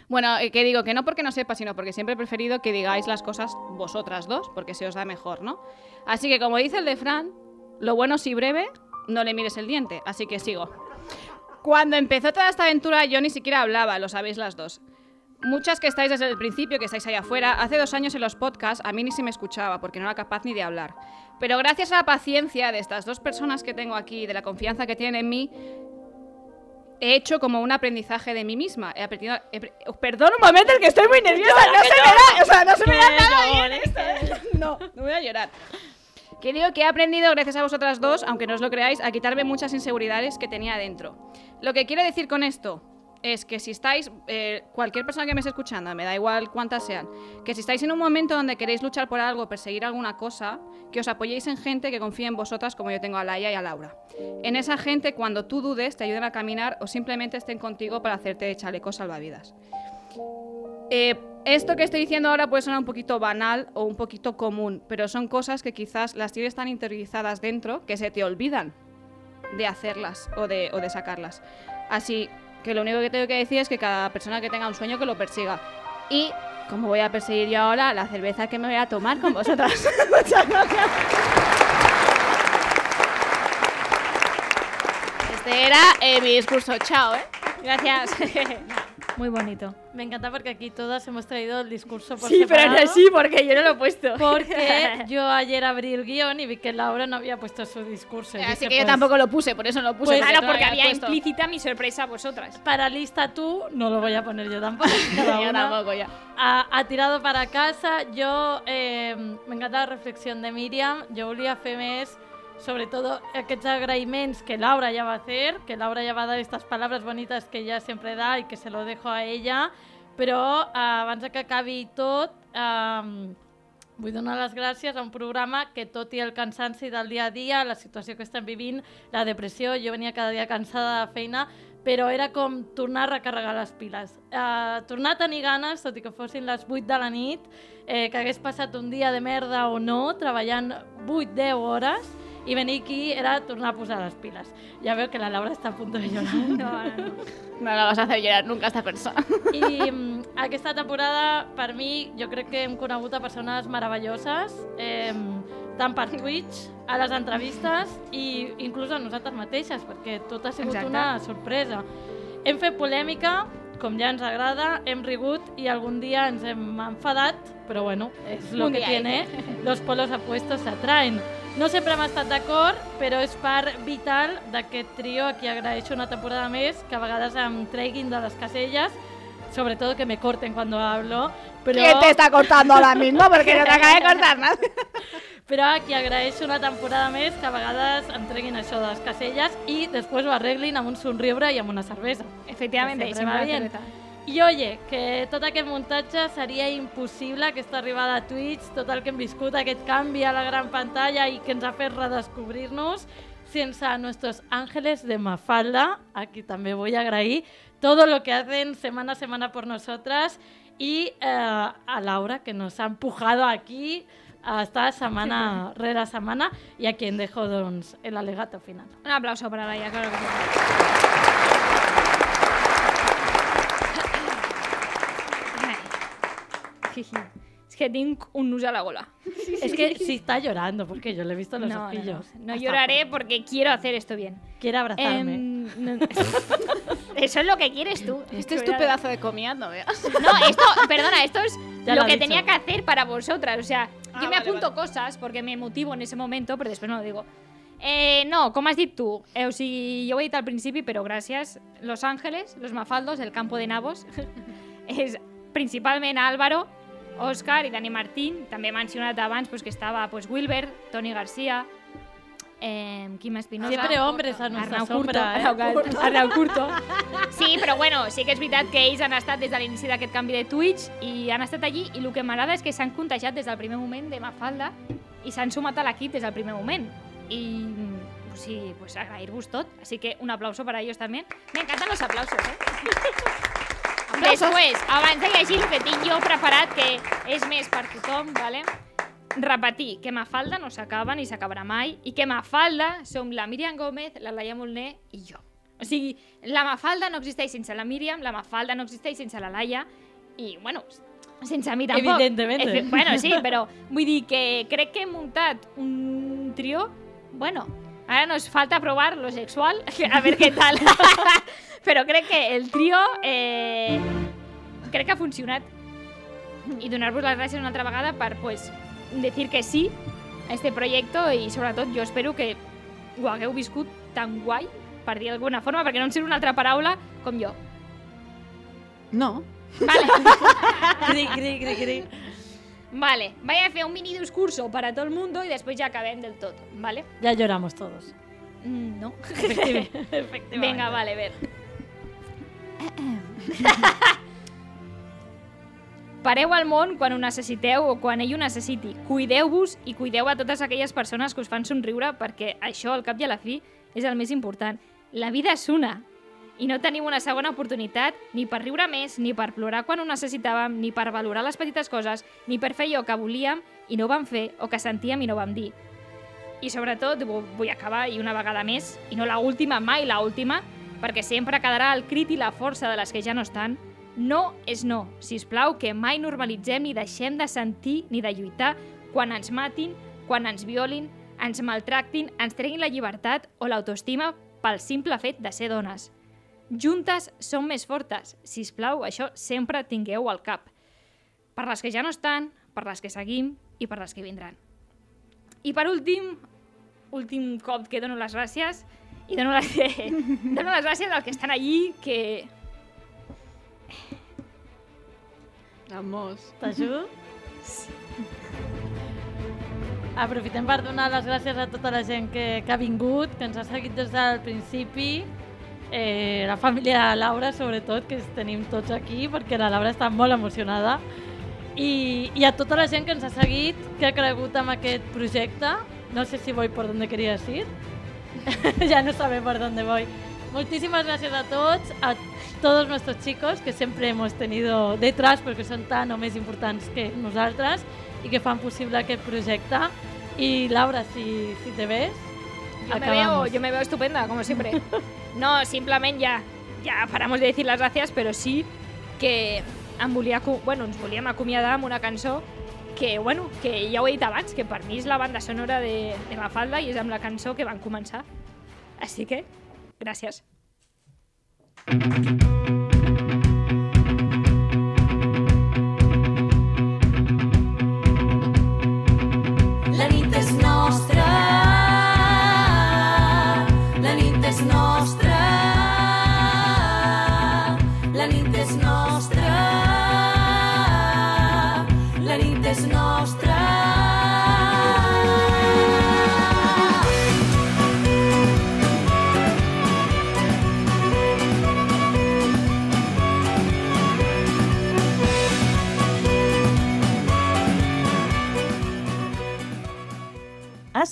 Bueno, eh, que digo que no porque no sepa, sino porque siempre he preferido que digáis las cosas vosotras dos, porque se os da mejor, ¿no? Así que como dice el de Fran, lo bueno si breve, no le mires el diente, así que sigo. Cuando empezó toda esta aventura yo ni siquiera hablaba, lo sabéis las dos. Muchas que estáis desde el principio, que estáis allá afuera, hace dos años en los podcasts a mí ni se me escuchaba porque no era capaz ni de hablar. Pero gracias a la paciencia de estas dos personas que tengo aquí, de la confianza que tienen en mí, he hecho como un aprendizaje de mí misma. He aprendido. he pre- oh, perdón un momento, es que estoy muy nerviosa.
Llora, que llora.
No, se me da, o sea, no se me da
Que
nada bien
llores,
esto, ¿eh? No, no voy a llorar. Que digo que he aprendido, gracias a vosotras dos, aunque no os lo creáis, a quitarme muchas inseguridades que tenía dentro. Lo que quiero decir con esto es que si estáis, eh, cualquier persona que me esté escuchando, me da igual cuántas sean, que si estáis en un momento donde queréis luchar por algo, perseguir alguna cosa, que os apoyéis en gente que confíe en vosotras como yo tengo a Laia y a Laura. En esa gente, cuando tú dudes, te ayuden a caminar o simplemente estén contigo para hacerte chalecos salvavidas. Eh, esto que estoy diciendo ahora puede sonar un poquito banal o un poquito común, pero son cosas que quizás las tienes tan interiorizadas dentro que se te olvidan de hacerlas o de, o de sacarlas. Así que lo único que tengo que decir es que cada persona que tenga un sueño que lo persiga. Y como voy a perseguir yo ahora la cerveza que me voy a tomar con vosotras. Muchas gracias.
Este era eh, mi discurso, chao, ¿eh? Gracias.
Muy bonito.
Me encanta porque aquí todas hemos traído el discurso por
Sí, pero no
separado,
sí, porque yo no lo he puesto.
Porque yo ayer abrí el guión y vi que Laura no había puesto su discurso. "Pues,
Así que yo tampoco lo puse, por eso no lo
pues
pues,
puse, porque tú
claro,
no
porque
habías
había
puesto.
implícita mi sorpresa a vosotras. Para lista tú, no lo voy a poner yo tampoco. cada
yo
una
tampoco, ya.
Ha, ha tirado para casa. Yo, eh, me encanta la reflexión de Miriam. Jo volia fer més, sobretot aquests agraïments que Laura ja va fer, que Laura ja va dar aquestes paraules bonites que ella sempre da i que se lo dejo a ella, però eh, abans de que acabi tot, eh, Vull donar les gràcies a un programa que, tot i el cansanci del dia a dia, la situació que estem vivint, la depressió, jo venia cada dia cansada de feina, però era com tornar a recarregar les piles. Uh, tornar a tenir ganes, tot i que fossin les 8 de la nit, eh, que hagués passat un dia de merda o no, treballant 8-10 hores, i venir aquí era tornar a posar les piles. Ja veu que la Laura està a punt de llorar. No, no, no.
No la vas a hacer llorar nunca a esta persona.
I mm, aquesta temporada, per mi, jo crec que hem conegut a persones meravelloses, eh, tant per Twitch, a les entrevistes i inclús a nosaltres mateixes, perquè tot ha sigut
Exacte.
una sorpresa. Hem fet polèmica, com ja ens agrada, hem rigut i algun dia ens hem enfadat, però bueno, és lo
Un
que
dia,
tiene,
eh?
los polos opuestos s'atraen. No sempre hem estat d'acord, però és part vital d'aquest trio a qui agraeixo una temporada més, que a vegades em treguin de les caselles, sobretot que me corten quan hablo, però...
¿Quién te está cortando ahora mismo? Porque no te acaba de cortar nada.
Però a qui agraeixo una temporada més que a vegades em treguin això de les caselles i després ho arreglin amb un somriure i amb una cervesa.
Efectivamente,
Que
y siempre
va
la
bien.
cerveza.
I oye, que tot aquest muntatge seria impossible, aquesta arribada a Twitch, tot el que hem viscut, aquest canvi a la gran pantalla i que ens ha fet redescobrir-nos, sense nuestros ángeles de Mafalda, a qui també vull agrair todo lo que hacen semana a semana por nosotras, y eh, a Laura, que nos ha empujado aquí hasta semana rere semana, y a quien dejo doncs, el alegato final.
Un aplauso para Laia, claro que sí. Ay. Jiji. Es que tengo un nus a la gola.
Es que sí está llorando, porque yo le he visto los
No, no, no,
ojillos.
no lloraré porque quiero hacer esto bien.
Quiero abrazarme.
Em, no- Eso es lo que quieres tú.
Este es tu pedazo de comida, no veas.
No, esto, perdona, esto es
Ya lo
lo
ha
que
dicho.
tenía que hacer para vosotras. O sea, yo me
Ah, vale,
apunto cosas porque me motivo en ese momento, pero después no lo digo. Eh, no, com has dit tu? Eh, o sigui, jo ho he dit al principi, però gràcies. Los Ángeles, Los Mafaldos, El Campo de Nabos, és principalment Álvaro, Òscar i Dani Martín. També he mencionat abans pues, que estava pues, Wilber, Toni Garcia, eh, Quim Espinosa...
Siempre hombres a nuestra
Arnau
sombra, eh?
Curto, Arnau, Gal- Arnau Curto. Sí, però bueno, sí que és veritat que ells han estat des de l'inici d'aquest canvi de Twitch i han estat allí i el que m'agrada és que s'han contagiat des del primer moment de Mafalda i s'han sumat a l'equip des del primer moment. I o sigui, pues agrair-vos tot. Així que un aplauso para ellos també. Me encantan los aplausos, eh? Després, abans de llegir el que tinc jo preparat, que és més per tothom, vale? repetir que Mafalda no s'acaba ni s'acabarà mai i que Mafalda som la Míriam Gómez, la Laia Molné i jo. O sigui, la Mafalda no existeix sense la Míriam, la Mafalda no existeix sense la Laia i, bueno, sense mi tampoc.
Evidentemente.
Efe- Bueno, sí, però vull dir que crec que hem muntat un trio, bueno, ara nos falta provar lo sexual, a veure què tal. però crec que el trio eh, crec que ha funcionat i donar-vos les gràcies una altra vegada per pues, decir que sí a este projecte i sobretot jo espero que ho hagueu viscut tan guai per dir d'alguna forma, perquè no em surt una altra paraula com jo.
No.
Cri, cri, cri, cri. Vale, voy a hacer un mini discurso para todo el mundo y después ya acabem del todo, ¿vale?
Ya lloramos todos.
Mm, No.
Efectiva-
Venga, vale, a ver. Pareu al món quan ho necessiteu o quan ell ho necessiti. Cuideu-vos i cuideu a totes aquelles persones que us fan somriure perquè això, al cap i a la fi, és el més important. La vida és una i no tenim una segona oportunitat ni per riure més, ni per plorar quan ho necessitàvem, ni per valorar les petites coses, ni per fer allò que volíem i no ho vam fer o que sentíem i no ho vam dir. I sobretot, vu- vull acabar, i una vegada més, i no la última, mai la última, perquè sempre quedarà el crit i la força de les que ja no estan, no és no. Si us plau, que mai normalitzem ni deixem de sentir ni de lluitar quan ens matin, quan ens violin, ens maltractin, ens treguin la llibertat o l'autoestima pel simple fet de ser dones. Juntes som més fortes. Si us plau, això sempre tingueu al cap. Per les que ja no estan, per les que seguim i per les que vindran. I per últim, últim cop que dono les gràcies, i dono les, dono les gràcies als que estan allí, que...
Vamos. T'ajudo? Aprofitem per donar les gràcies a tota la gent que, que ha vingut, que ens ha seguit des del principi, eh, la família de la Laura, sobretot, que es tenim tots aquí, perquè la Laura està molt emocionada, i, i a tota la gent que ens ha seguit, que ha cregut amb aquest projecte. No sé si voy por donde querías ir. ya no sabe por dónde voy. Muchísimas gracias a todos, a todos nuestros chicos que siempre hemos tenido detrás porque son tan o més importants que nosaltres i que fan possible aquest projecte. I Laura, si, si te ves,
Yo me, veo, yo me veo estupenda, como siempre. No, simplemente ya, ya paramos de decir las gracias, pero sí que em volia, aco- bueno, ens volíem acomiadar amb una cançó que, bueno, que ja ho he dit abans, que per mi és la banda sonora de, de Mafalda i és amb la cançó que van començar. Així que, gràcies.
La nit és nostra. La nit és nostra. La nit és nostra. La nit és nostra.
Has